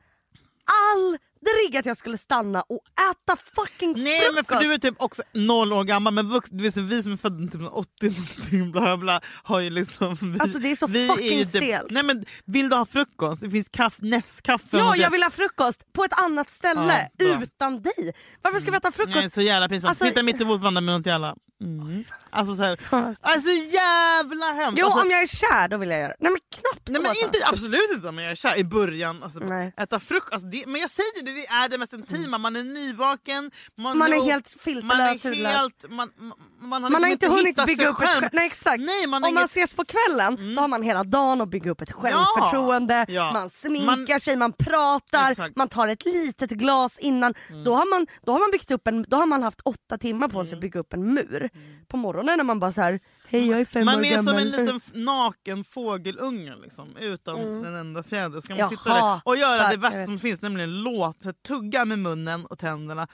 [SPEAKER 1] aldrig att jag skulle stanna och äta fucking
[SPEAKER 2] Nej
[SPEAKER 1] frukost.
[SPEAKER 2] men för du är typ också noll år gammal men vux, du vet, vi som är födda typ 80 någonting bla bla har ju liksom... Vi,
[SPEAKER 1] Alltså, det är så
[SPEAKER 2] vi
[SPEAKER 1] fucking
[SPEAKER 2] ju typ-
[SPEAKER 1] stelt.
[SPEAKER 2] Nej men vill du ha frukost? Det finns kaff, Nescafe.
[SPEAKER 1] Ja,
[SPEAKER 2] och det-
[SPEAKER 1] jag vill ha frukost på ett annat ställe
[SPEAKER 2] Ja, bra.
[SPEAKER 1] utan dig. Varför ska vi äta frukost?
[SPEAKER 2] Nej, så jävla pinsamt.
[SPEAKER 1] Alltså-
[SPEAKER 2] Sitta mitt emot varandra med något jävla... Mm. Alltså så här, alltså jävla hemskt!
[SPEAKER 1] Jo,
[SPEAKER 2] alltså,
[SPEAKER 1] om jag är kär då vill jag göra det. Nej men knappt.
[SPEAKER 2] Nej men
[SPEAKER 1] Åsa.
[SPEAKER 2] inte, absolut inte om jag är kär i början. Alltså,
[SPEAKER 1] Nej. Mm.
[SPEAKER 2] äta frukost. Alltså, det, men jag säger det, det är det mest intima. Man är nyvaken. Man,
[SPEAKER 1] Man är
[SPEAKER 2] jo,
[SPEAKER 1] helt
[SPEAKER 2] man är
[SPEAKER 1] filterlös, hudlös.
[SPEAKER 2] helt, man, man, man har,
[SPEAKER 1] Man
[SPEAKER 2] liksom
[SPEAKER 1] har inte hunnit
[SPEAKER 2] hittat
[SPEAKER 1] bygga
[SPEAKER 2] sig
[SPEAKER 1] upp ett
[SPEAKER 2] själv.
[SPEAKER 1] själv. Nej exakt.
[SPEAKER 2] Nej, man har
[SPEAKER 1] Om man
[SPEAKER 2] inget- Mm.
[SPEAKER 1] ses på kvällen då har man hela dagen att bygga upp ett självförtroende.
[SPEAKER 2] Ja.
[SPEAKER 1] Man sminkar
[SPEAKER 2] Man-
[SPEAKER 1] sig, man pratar,
[SPEAKER 2] Exakt. Mm.
[SPEAKER 1] man tar ett litet glas innan. Då, har man, då har man byggt upp en, då har man haft åtta timmar på sig att bygga upp en mur. På morgonen när man bara så här, hej jag är fem år
[SPEAKER 2] Mm. Man är
[SPEAKER 1] gammal.
[SPEAKER 2] som en liten f- naken fågelunge liksom, utan en enda fjäder. Ska man
[SPEAKER 1] Mm. Jag
[SPEAKER 2] sitta där och göra
[SPEAKER 1] hatar-
[SPEAKER 2] det värsta som finns, nämligen låta, tugga med munnen och tänderna.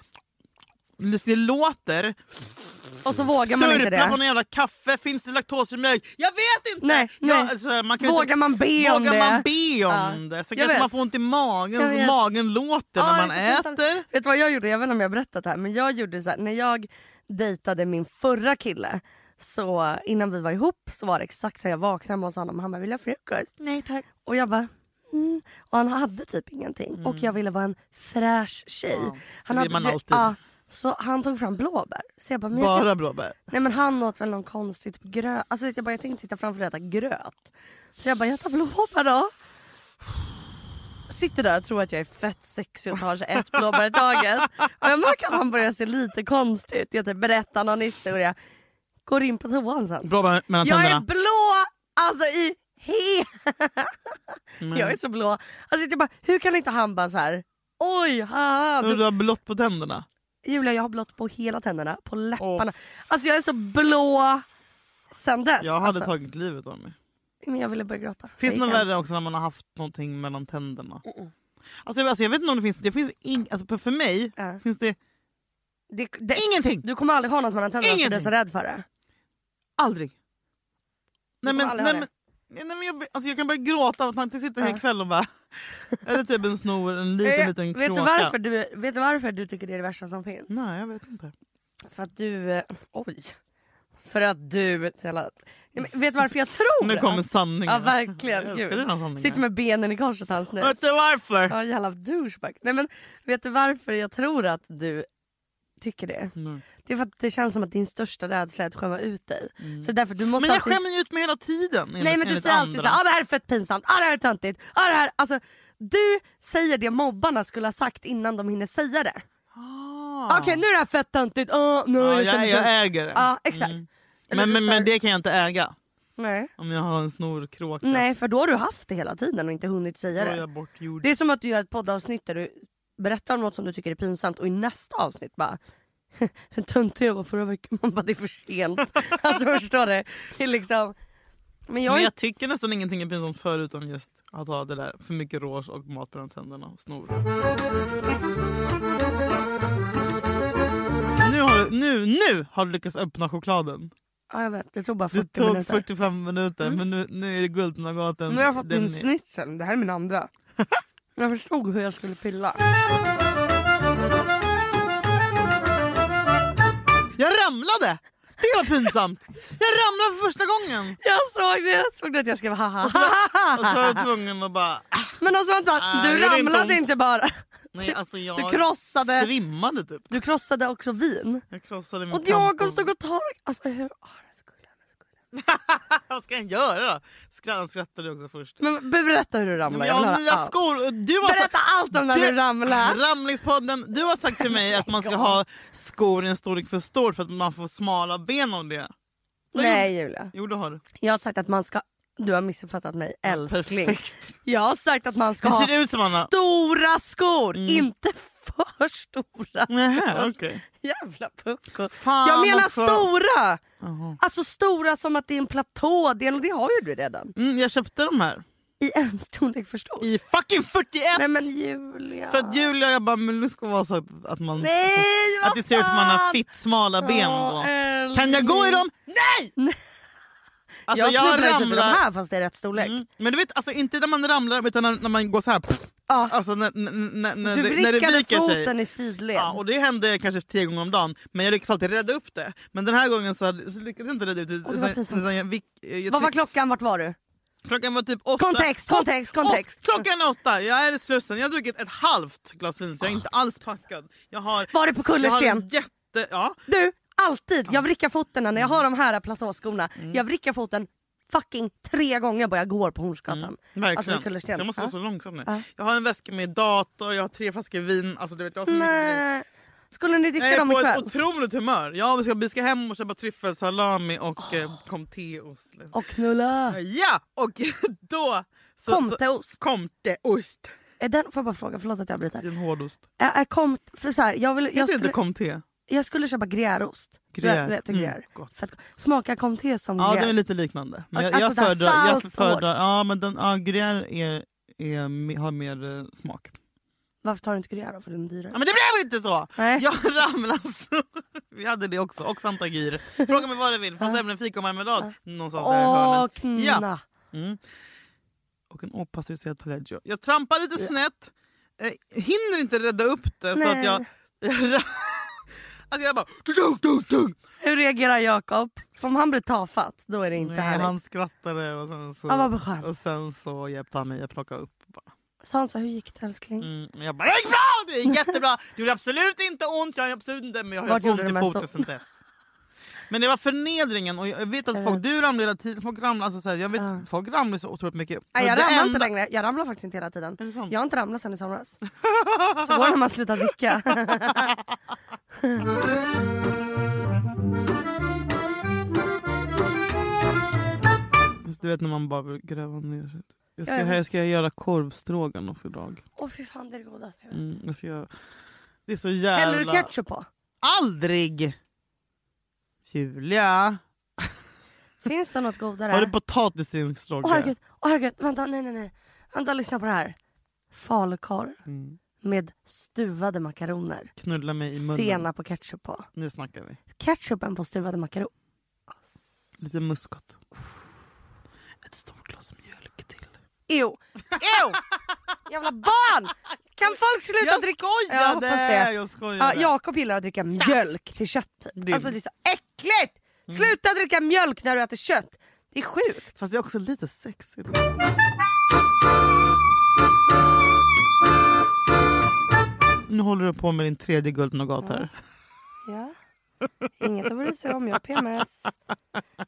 [SPEAKER 2] Det låter,
[SPEAKER 1] Och så vågar man inte
[SPEAKER 2] surpla på
[SPEAKER 1] det.
[SPEAKER 2] någon jävla kaffe, finns det laktos i mjölk? Jag vet inte!
[SPEAKER 1] Nej,
[SPEAKER 2] jag,
[SPEAKER 1] nej.
[SPEAKER 2] alltså, man kan ju
[SPEAKER 1] Vågar
[SPEAKER 2] inte-
[SPEAKER 1] man be om
[SPEAKER 2] vågar
[SPEAKER 1] det?
[SPEAKER 2] man be om
[SPEAKER 1] Ja.
[SPEAKER 2] det? Så
[SPEAKER 1] Jag
[SPEAKER 2] kanske
[SPEAKER 1] vet.
[SPEAKER 2] man får ont i
[SPEAKER 1] Jag
[SPEAKER 2] magen, så
[SPEAKER 1] vet.
[SPEAKER 2] magen låter
[SPEAKER 1] Ja,
[SPEAKER 2] när man
[SPEAKER 1] det är så pinsamt.
[SPEAKER 2] äter.
[SPEAKER 1] Vet du vad jag gjorde? Jag vet inte om jag har berättat det här men jag gjorde så här, när jag dejtade min förra kille så innan vi var ihop så var det exakt så här, jag vaknade hemma hos honom och han bara vill du ha frukost?
[SPEAKER 2] Nej tack.
[SPEAKER 1] Och jag bara mm. Och han hade typ ingenting och jag ville vara en fräsch tjej.
[SPEAKER 2] Mm. Ja,
[SPEAKER 1] han
[SPEAKER 2] det vill man
[SPEAKER 1] du vet,
[SPEAKER 2] alltid.
[SPEAKER 1] ja. så han tog fram blåbär. Så jag bara, men jag kan...
[SPEAKER 2] Bara blåbär.
[SPEAKER 1] Nej men han åt väl någon konstig typ gröt. Alltså vet jag bara jag tänkte sitta framför och äta gröt. Så jag bara jag tar blåbär då. Sitter där och tror att jag är fett sexig och tar sig ett blåbär i taget. Och jag märker att han börjar se lite konstig ut. Jag typ berättar någon historia. Går in på toan sen.
[SPEAKER 2] Blåbär mellan
[SPEAKER 1] Jag är
[SPEAKER 2] tänderna.
[SPEAKER 1] blå alltså i he. Jag är så blå. Alltså jag bara hur kan inte han bara så här. Oj, haha,
[SPEAKER 2] Du har blått på tänderna.
[SPEAKER 1] Julia jag har blått på hela tänderna, på läpparna.
[SPEAKER 2] Åh.
[SPEAKER 1] Alltså jag är så blå sen dess.
[SPEAKER 2] Jag hade
[SPEAKER 1] alltså,
[SPEAKER 2] tagit livet av mig.
[SPEAKER 1] Men jag ville börja gråta.
[SPEAKER 2] Finns
[SPEAKER 1] Jag
[SPEAKER 2] det något
[SPEAKER 1] gick hem.
[SPEAKER 2] värre också när man har haft någonting mellan tänderna?
[SPEAKER 1] Mm,
[SPEAKER 2] Alltså, jag, alltså, jag vet inte om det finns, det finns ing, alltså, för mig
[SPEAKER 1] Ja.
[SPEAKER 2] finns det
[SPEAKER 1] Det, det,
[SPEAKER 2] ingenting.
[SPEAKER 1] du kommer aldrig ha något mellan tänderna för du är
[SPEAKER 2] Ingenting.
[SPEAKER 1] så rädd för det.
[SPEAKER 2] Aldrig. Nej men,
[SPEAKER 1] aldrig
[SPEAKER 2] nej,
[SPEAKER 1] ha
[SPEAKER 2] men, nej, men jag, alltså, jag kan börja gråta av att man sitter här
[SPEAKER 1] Ja.
[SPEAKER 2] ikväll och bara... Eller typ en snor, en
[SPEAKER 1] Eh,
[SPEAKER 2] liten liten kråka.
[SPEAKER 1] vet, du varför du, vet du varför du tycker det är det värsta som finns?
[SPEAKER 2] Nej jag vet inte.
[SPEAKER 1] För att du... eh, Oj. För att du... så jävla- Nej, men Vet du varför jag tror
[SPEAKER 2] Nu
[SPEAKER 1] det?
[SPEAKER 2] kommer sanningen.
[SPEAKER 1] Ja verkligen.
[SPEAKER 2] Jag
[SPEAKER 1] Gud.
[SPEAKER 2] älskar dina sanningar.
[SPEAKER 1] Sitter med benen i korset han snus.
[SPEAKER 2] Vet du varför?
[SPEAKER 1] Ja jävla douchebag. Nej men vet du varför jag tror att du tycker det. Det är för att det känns som att din största rädsla är att skämma ut dig. Så därför du måste
[SPEAKER 2] Mm. Men
[SPEAKER 1] alltid...
[SPEAKER 2] jag skämmer ju ut mig hela tiden. enligt-
[SPEAKER 1] Nej men du
[SPEAKER 2] enligt
[SPEAKER 1] säger alltid
[SPEAKER 2] andra.
[SPEAKER 1] såhär, ah, det här är fett pinsamt, ah, det här är töntigt, ah, det här... Alltså, du säger det mobbarna skulle ha sagt innan de hinner säga det. Ah, Okej nu är det här fett töntigt, oh, nej,
[SPEAKER 2] Ah. Ja,
[SPEAKER 1] jag, känner
[SPEAKER 2] jag, jag
[SPEAKER 1] så-
[SPEAKER 2] äger det. Mm.
[SPEAKER 1] Ja exakt. Eller
[SPEAKER 2] Men,
[SPEAKER 1] du
[SPEAKER 2] men,
[SPEAKER 1] så här-
[SPEAKER 2] men det kan jag inte äga.
[SPEAKER 1] Nej.
[SPEAKER 2] Om jag har en snorkråka.
[SPEAKER 1] nej för då har du haft det hela tiden och inte hunnit
[SPEAKER 2] Då
[SPEAKER 1] säga
[SPEAKER 2] är
[SPEAKER 1] det.
[SPEAKER 2] jag bortgjord.
[SPEAKER 1] Det är som att du gör ett poddavsnitt där du berättar om något som du tycker är pinsamt och i nästa avsnitt bara den töntiga jag var förra veckan. Man bara det är för sent. alltså förstår du? Det är liksom... Men jag,
[SPEAKER 2] Men jag tycker nästan ingenting är pinsamt förutom just att ha det där för mycket rouge och mat på de tänderna och snor. Nu har, du, nu, nu har du lyckats öppna chokladen.
[SPEAKER 1] ja, jag vet, det tog bara 40
[SPEAKER 2] Det tog
[SPEAKER 1] minuter.
[SPEAKER 2] 45 minuter men nu, nu är det guldnagaten.
[SPEAKER 1] Men jag har fått
[SPEAKER 2] Den
[SPEAKER 1] min
[SPEAKER 2] är-
[SPEAKER 1] schnitzel, det här är min andra. jag förstod hur jag skulle pilla.
[SPEAKER 2] Jag ramlade! Det var pinsamt! Jag ramlade för första gången!
[SPEAKER 1] Jag såg det, jag såg det att jag skrev haha.
[SPEAKER 2] Och så var jag tvungen att bara... "Ah,
[SPEAKER 1] Men alltså vänta,
[SPEAKER 2] Ah,
[SPEAKER 1] du
[SPEAKER 2] det är inte
[SPEAKER 1] ramlade
[SPEAKER 2] ont.
[SPEAKER 1] inte bara.
[SPEAKER 2] Nej, alltså jag
[SPEAKER 1] Du krossade-
[SPEAKER 2] svimmade typ.
[SPEAKER 1] Du krossade också vin.
[SPEAKER 2] Jag krossade min
[SPEAKER 1] Och
[SPEAKER 2] kamp
[SPEAKER 1] Jakob stod och tar... Alltså hur... ah, det är så gulligt, det är så gulligt.
[SPEAKER 2] Vad ska jag göra då? Skra- Han skrattade också först.
[SPEAKER 1] Men berätta hur du ramlade. ah.
[SPEAKER 2] Jag
[SPEAKER 1] vill
[SPEAKER 2] har
[SPEAKER 1] höra
[SPEAKER 2] nya
[SPEAKER 1] allt.
[SPEAKER 2] skor! och Du har
[SPEAKER 1] Berätta allt om när du ramlade.
[SPEAKER 2] Ramlingspodden, du har sagt till mig att man ska ha skor i en storlek för stor för att man får smala ben av det.
[SPEAKER 1] Nej Julia.
[SPEAKER 2] Jo det har du.
[SPEAKER 1] Jag har sagt att man ska... Du har missuppfattat mig älskling.
[SPEAKER 2] Perfekt.
[SPEAKER 1] Jag har sagt att man ska
[SPEAKER 2] Det
[SPEAKER 1] ha
[SPEAKER 2] ser ut Mm. som Anna.
[SPEAKER 1] stora skor. Inte för stora.
[SPEAKER 2] Nähä, okej.
[SPEAKER 1] Jävla pucko.
[SPEAKER 2] Fan
[SPEAKER 1] Jag menar
[SPEAKER 2] också.
[SPEAKER 1] stora! Alltså stora som att det är en platå, det, är- det har ju du redan.
[SPEAKER 2] Mm, jag köpte de här
[SPEAKER 1] I en storlek förstås.
[SPEAKER 2] i fucking 41!
[SPEAKER 1] Nej men Julia.
[SPEAKER 2] För att Julia jag bara, men nu ska vara så att- att man...
[SPEAKER 1] Nej vad
[SPEAKER 2] Att det ser ut som att man har
[SPEAKER 1] fan!
[SPEAKER 2] fitt smala ben
[SPEAKER 1] Ja,
[SPEAKER 2] då.
[SPEAKER 1] älskling.
[SPEAKER 2] Kan jag gå i dem? Nej! Alltså
[SPEAKER 1] jag
[SPEAKER 2] jag,
[SPEAKER 1] snubblar typ i de
[SPEAKER 2] ramlar...
[SPEAKER 1] här fast det är rätt storlek.
[SPEAKER 2] Mm. Men du vet, alltså, inte när man ramlar utan när, när man går så här.
[SPEAKER 1] Ja.
[SPEAKER 2] Alltså när, när, när, när,
[SPEAKER 1] Du
[SPEAKER 2] det, när det
[SPEAKER 1] vrickade
[SPEAKER 2] viker sig.
[SPEAKER 1] foten i sidled.
[SPEAKER 2] Ja, och det hände kanske tio gånger om dagen. Men jag lyckades alltid rädda upp det. Men den här gången så, hade, så lyckades jag inte rädda upp det.
[SPEAKER 1] var
[SPEAKER 2] utan-
[SPEAKER 1] pinsamt.
[SPEAKER 2] utan jag, vick, eh, jag
[SPEAKER 1] Vad var
[SPEAKER 2] tyck-
[SPEAKER 1] klockan, vart var du?
[SPEAKER 2] klockan var typ åtta.
[SPEAKER 1] Kontext, kontext,
[SPEAKER 2] Åt-
[SPEAKER 1] kontext.
[SPEAKER 2] åt- klockan är åtta, jag är i Slussen. Jag har druckit ett halvt glas vin så jag är inte alls packad. Jag har,
[SPEAKER 1] Var det på
[SPEAKER 2] jag har en
[SPEAKER 1] kullersten?
[SPEAKER 2] jätte... Ja.
[SPEAKER 1] Du, alltid. Jag vrickar foten när jag har de här platåskorna.
[SPEAKER 2] Mm.
[SPEAKER 1] Jag vrickar foten fucking tre gånger bara jag går på Hornsgatan. Alltså,
[SPEAKER 2] Mm, Verkligen.
[SPEAKER 1] med kullersten.
[SPEAKER 2] så jag måste gå
[SPEAKER 1] Ja.
[SPEAKER 2] så långsamt nu.
[SPEAKER 1] Ja.
[SPEAKER 2] Jag har en väska med dator, jag har tre flaskor vin. Alltså, du vet, jag har så mycket grejer.
[SPEAKER 1] Nej. eh, Skulle ni
[SPEAKER 2] Jag
[SPEAKER 1] dricka
[SPEAKER 2] är
[SPEAKER 1] dem
[SPEAKER 2] på ett
[SPEAKER 1] ikväll?
[SPEAKER 2] otroligt humör. Ja, vi, ska, vi ska hem och köpa tryffelsalami och eh, comtéost.
[SPEAKER 1] Och knulla.
[SPEAKER 2] Ja! Och då... Så,
[SPEAKER 1] Comteost.
[SPEAKER 2] Så, comteost.
[SPEAKER 1] Är den, får jag bara fråga, förlåt att jag
[SPEAKER 2] Det
[SPEAKER 1] avbryter.
[SPEAKER 2] är en hårdost.
[SPEAKER 1] Är, är kom, för så här, jag, vill, jag,
[SPEAKER 2] Jag Heter det
[SPEAKER 1] skulle,
[SPEAKER 2] inte comté?
[SPEAKER 1] jag skulle köpa gruyèreost. Du
[SPEAKER 2] Gruyère.
[SPEAKER 1] vet- du vet hur
[SPEAKER 2] Mm,
[SPEAKER 1] gruyère.
[SPEAKER 2] gott.
[SPEAKER 1] Fett gott. Smakar comté som
[SPEAKER 2] Ja,
[SPEAKER 1] gruyère?
[SPEAKER 2] den är lite liknande. Men
[SPEAKER 1] Och-
[SPEAKER 2] jag,
[SPEAKER 1] alltså
[SPEAKER 2] jag
[SPEAKER 1] det här
[SPEAKER 2] föredrar... Jag
[SPEAKER 1] salt,
[SPEAKER 2] föredrar ja, men den, ja, gruyère är, är, me- har mer eh, smak.
[SPEAKER 1] Varför tar du inte gruyère då? För den är dyrare.
[SPEAKER 2] Ja, men det blev inte så!
[SPEAKER 1] Nej.
[SPEAKER 2] Jag ramlade så... Vi hade det också. Och Santagir. Fråga mig vad du vill. Fanns även en fikonmarmelad någonstans där i
[SPEAKER 1] Åh,
[SPEAKER 2] hörnet.
[SPEAKER 1] kna.
[SPEAKER 2] Ja. och en opastöriserad taleggio. Jag trampar lite snett, eh, hinner inte rädda upp det så
[SPEAKER 1] Nej.
[SPEAKER 2] att jag... alltså jag bara... Tung, tung, tung.
[SPEAKER 1] Hur reagerar Jakob? För om han blir tafatt, då är det inte
[SPEAKER 2] Nej,
[SPEAKER 1] härligt.
[SPEAKER 2] han skrattade och sen så,
[SPEAKER 1] Ja, vad beskönt.
[SPEAKER 2] och sen så hjälpte han mig att plocka upp. Bara.
[SPEAKER 1] Så han sa, hur gick det älskling?
[SPEAKER 2] Mm, och jag bara det gick bra! Det gick jättebra! Det gjorde absolut inte ont, jag har absolut inte, men jag har
[SPEAKER 1] Vart
[SPEAKER 2] haft ont
[SPEAKER 1] gjorde det
[SPEAKER 2] i
[SPEAKER 1] mest
[SPEAKER 2] foten
[SPEAKER 1] ont?
[SPEAKER 2] sen dess. Men det var förnedringen och jag vet att
[SPEAKER 1] Eh.
[SPEAKER 2] folk, du ramlar hela tiden, folk ramlar, alltså så här, jag vet, folk ramlar så otroligt mycket.
[SPEAKER 1] Nej, jag
[SPEAKER 2] Det
[SPEAKER 1] ramlar
[SPEAKER 2] enda- Mm.
[SPEAKER 1] inte längre. Jag ramlar faktiskt inte hela tiden.
[SPEAKER 2] det sant?
[SPEAKER 1] Jag har inte ramlat sen i somras. Så går det när man slutar dricka.
[SPEAKER 2] Alltså, Du vet när man bara vill gräva ner sig. Jag ska,
[SPEAKER 1] Ja, jag vet.
[SPEAKER 2] här ska jag göra korvstroganoff idag.
[SPEAKER 1] Åh fy fan det är det godaste jag vet.
[SPEAKER 2] Mm, jag ska göra... Det är så
[SPEAKER 1] Häller du
[SPEAKER 2] jävla...
[SPEAKER 1] ketchup på?
[SPEAKER 2] Aldrig! Julia!
[SPEAKER 1] Finns det något godare?
[SPEAKER 2] Har du
[SPEAKER 1] Åh
[SPEAKER 2] potatisdrinkstrågare?
[SPEAKER 1] herregud, åh herregud, vänta, nej nej nej. Vänta, lyssna på det här. Falukorv med stuvade makaroner.
[SPEAKER 2] Knulla mig Mm. i munnen.
[SPEAKER 1] Senap och ketchup på.
[SPEAKER 2] Nu snackar vi.
[SPEAKER 1] Ketchupen på stuvade makaroner.
[SPEAKER 2] Lite muskot. Ett stort glas mjölk till.
[SPEAKER 1] Jo, jo! Jävla barn! Kan folk sluta
[SPEAKER 2] Jag
[SPEAKER 1] dricka?
[SPEAKER 2] skojade!
[SPEAKER 1] Jag hoppas det.
[SPEAKER 2] Jag skojade.
[SPEAKER 1] Ja, Jakob gillar att dricka mjölk till kött.
[SPEAKER 2] Din.
[SPEAKER 1] Alltså det är så
[SPEAKER 2] Mm.
[SPEAKER 1] äckligt! Sluta dricka mjölk när du äter kött. Det är sjukt.
[SPEAKER 2] Fast det är också lite sexigt. Nu håller du på med din tredje guldnogat här.
[SPEAKER 1] Ja. Inget att bry sig om, jag har PMS.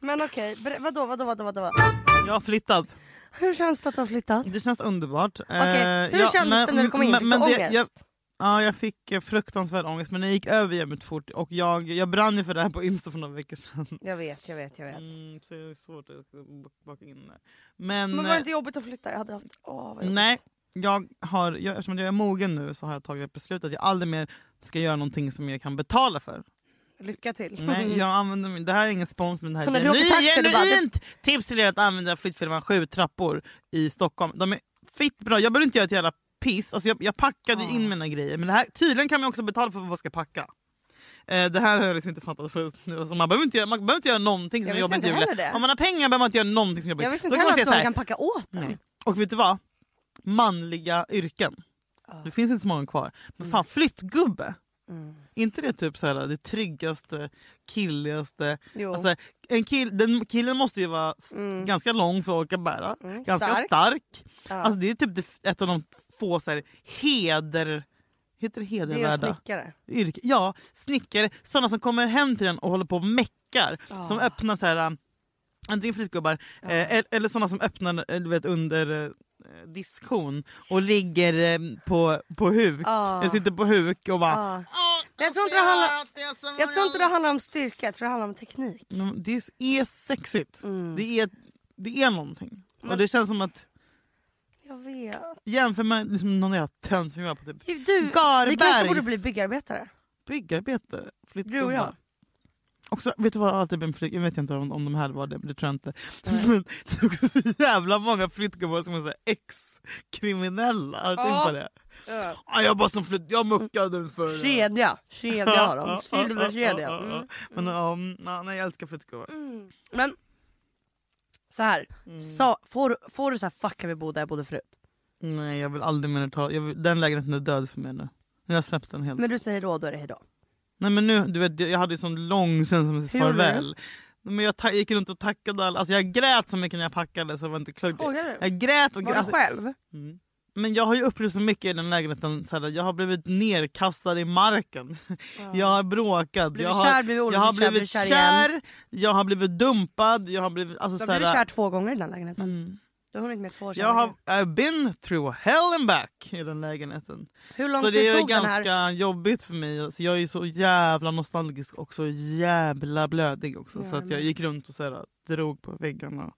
[SPEAKER 1] Men okej, okay. vadå, vadå, vadå, vadå?
[SPEAKER 2] Jag har flyttat.
[SPEAKER 1] Hur känns det att du har flyttat?
[SPEAKER 2] Det känns underbart. Eh,
[SPEAKER 1] Okej, hur kändes det när du kom in? Fick du ångest?
[SPEAKER 2] jag, Ja, jag fick eh, fruktansvärd ångest men det gick över jävligt fort och jag, jag brann ju för det här på Insta för några veckor sedan.
[SPEAKER 1] Jag vet, jag vet, jag vet.
[SPEAKER 2] Mm, så det är svårt att baka in det. Men,
[SPEAKER 1] Men var det inte jobbigt att flytta? Jag hade haft... Åh, vad jobbigt.
[SPEAKER 2] Nej, jag har, jag, eftersom jag är mogen nu så har jag tagit ett beslut att jag aldrig mer ska göra någonting som jag kan betala för.
[SPEAKER 1] Lycka till.
[SPEAKER 2] Nej, jag använder min, det här är ingen spons men det här
[SPEAKER 1] Så
[SPEAKER 2] är
[SPEAKER 1] när du åker
[SPEAKER 2] genu-
[SPEAKER 1] taxi, du bara, typ.
[SPEAKER 2] genuint tips till er att använda flyttfirman sju trappor i Stockholm. De är fitt bra, jag behöver inte göra ett jävla piss. Alltså jag, jag packade in mina grejer men det här, tydligen kan man också betala för vad man ska packa. Eh, det här har jag liksom inte fattat förut. Alltså man behöver inte göra, man behöver inte göra någonting
[SPEAKER 1] Jag
[SPEAKER 2] som är
[SPEAKER 1] visste
[SPEAKER 2] jobbigt.
[SPEAKER 1] inte
[SPEAKER 2] i juli.
[SPEAKER 1] heller det.
[SPEAKER 2] Om man har pengar behöver man inte göra någonting som är jobbigt.
[SPEAKER 1] Jag visste
[SPEAKER 2] Då
[SPEAKER 1] inte
[SPEAKER 2] kan man
[SPEAKER 1] heller att
[SPEAKER 2] säga så
[SPEAKER 1] någon kan
[SPEAKER 2] här,
[SPEAKER 1] packa åt den.
[SPEAKER 2] Nej. Och vet du vad? Manliga yrken. Det finns inte så många kvar. Men fan, flyttgubbe.
[SPEAKER 1] Mm.
[SPEAKER 2] inte det typ så här, det tryggaste, killigaste?
[SPEAKER 1] Jo.
[SPEAKER 2] Alltså, en kill, den killen måste ju vara s- ganska lång för att orka bära. Ganska
[SPEAKER 1] Stark.
[SPEAKER 2] stark. Alltså, det är typ det- ett av de få så här, heder... Heter det
[SPEAKER 1] Det är en
[SPEAKER 2] hedervärda?
[SPEAKER 1] snickare.
[SPEAKER 2] yrke. Ja, snickare. Sådana som kommer hem till en och håller på och meckar. Som öppnar så här, äh, antingen flyttgubbar eh, el- eller sådana som öppnar eh, du vet, under eh, diskon och ligger eh, på, på huk.
[SPEAKER 1] Ah.
[SPEAKER 2] Jag sitter på huk och bara...
[SPEAKER 1] Ja.
[SPEAKER 2] "Ah,
[SPEAKER 1] Jag tror inte det
[SPEAKER 2] alltså,
[SPEAKER 1] handlar-
[SPEAKER 2] gör allt det som
[SPEAKER 1] Jag tror inte det handlar om styrka, jag tror det handlar Mm. om teknik.
[SPEAKER 2] Mm, Det är sexigt. Det, är, det är någonting. Och det känns som att
[SPEAKER 1] Jag vet.
[SPEAKER 2] jämför med liksom, någon jävla tönt som jag på typ
[SPEAKER 1] Du, vi Mm. kanske
[SPEAKER 2] Garbergs.
[SPEAKER 1] borde bli byggarbetare.
[SPEAKER 2] byggarbetare.
[SPEAKER 1] Du och jag.
[SPEAKER 2] Också, vet du vad alltid blir en flyg... Jag vet inte om, om de här var det, det tror jag inte. Men det är också så jävla många flyttgubbar som är så här ex-kriminella. Har du tänkt
[SPEAKER 1] Ja.
[SPEAKER 2] på det? Ah, jag bara som flytt... Jag muckade för...
[SPEAKER 1] Kedja. Kedja har de.
[SPEAKER 2] Ja,
[SPEAKER 1] Silverkedja.
[SPEAKER 2] ja, ja, ja.
[SPEAKER 1] Mm.
[SPEAKER 2] Men ja, mm, ja, nej, jag älskar flyttgubbar.
[SPEAKER 1] Men så här. Sa, får, får du så här fucka vi bo där jag bodde förut?
[SPEAKER 2] Nej jag vill aldrig mer ta... Jag vill... Den lägenheten är död för mig nu. Nu har jag släppt den helt.
[SPEAKER 1] Men du säger då, då är det hejdå.
[SPEAKER 2] Nej men nu, du vet, jag hade ju sån lång känslomässigt
[SPEAKER 1] Hur gjorde
[SPEAKER 2] farväl. Men jag ta- gick runt och tackade alla. Alltså jag grät så mycket när jag packade så det var inte klokt.
[SPEAKER 1] Skojar du?
[SPEAKER 2] Jag alltså, grät och
[SPEAKER 1] Var
[SPEAKER 2] grät. Mm.
[SPEAKER 1] du själv?
[SPEAKER 2] Men jag har ju upplevt så mycket i den lägenheten. Så här, jag har blivit nerkastad i marken. Jag har bråkat.
[SPEAKER 1] Blivit
[SPEAKER 2] jag har,
[SPEAKER 1] kär, blivit
[SPEAKER 2] jag har
[SPEAKER 1] olycklig,
[SPEAKER 2] blivit
[SPEAKER 1] blivit
[SPEAKER 2] kär,
[SPEAKER 1] kär igen.
[SPEAKER 2] jag har blivit dumpad. Jag har blivit, alltså,
[SPEAKER 1] Du har
[SPEAKER 2] så här,
[SPEAKER 1] blivit kär två gånger i den lägenheten.
[SPEAKER 2] Mm.
[SPEAKER 1] Du har hunnit med två
[SPEAKER 2] jag har
[SPEAKER 1] kärlekar.
[SPEAKER 2] I've been through hell and back i den lägenheten.
[SPEAKER 1] Hur lång
[SPEAKER 2] så
[SPEAKER 1] tid
[SPEAKER 2] det är ju
[SPEAKER 1] tog den här?
[SPEAKER 2] ganska jobbigt för mig. Så jag är ju så jävla nostalgisk och så jävla blödig också. Så att jag gick runt och så här, drog på väggarna.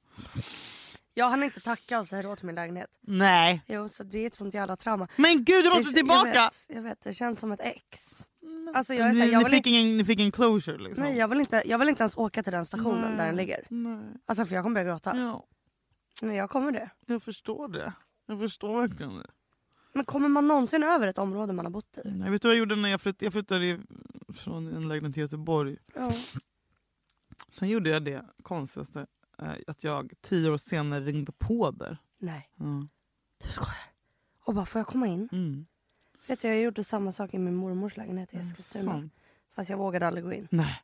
[SPEAKER 1] Jag hann inte tacka och säga hejdå till min lägenhet.
[SPEAKER 2] Nej!
[SPEAKER 1] Jo, så det är ett sånt jävla trauma.
[SPEAKER 2] Men gud du måste
[SPEAKER 1] Det- Jag
[SPEAKER 2] tillbaka!
[SPEAKER 1] vet, jag vet, det känns som ett ex. Alltså jag, är
[SPEAKER 2] ni,
[SPEAKER 1] så här, jag,
[SPEAKER 2] ni,
[SPEAKER 1] vill
[SPEAKER 2] fick
[SPEAKER 1] inte,
[SPEAKER 2] ingen, ni fick en closure liksom.
[SPEAKER 1] nej, jag, vill inte, jag vill inte ens åka till den stationen där den ligger.
[SPEAKER 2] Nej.
[SPEAKER 1] Alltså för jag kommer börja gråta.
[SPEAKER 2] Ja,
[SPEAKER 1] Nej, jag kommer det.
[SPEAKER 2] jag förstår det. Jag förstår verkligen det.
[SPEAKER 1] Men kommer man någonsin över ett område man har bott i?
[SPEAKER 2] Nej, vet du vad jag gjorde när jag, flytt, jag flyttade i- från en lägenhet till Göteborg?
[SPEAKER 1] Ja.
[SPEAKER 2] Sen gjorde jag det konstigaste, eh, att jag tio år senare ringde på där.
[SPEAKER 1] Nej,
[SPEAKER 2] Mm.
[SPEAKER 1] du skojar. Och bara, får jag komma in?
[SPEAKER 2] Mm.
[SPEAKER 1] Vet du, jag gjorde samma sak i min mormors lägenhet i Eskilstuna.
[SPEAKER 2] Sånt.
[SPEAKER 1] Fast jag vågade aldrig gå in.
[SPEAKER 2] Nej.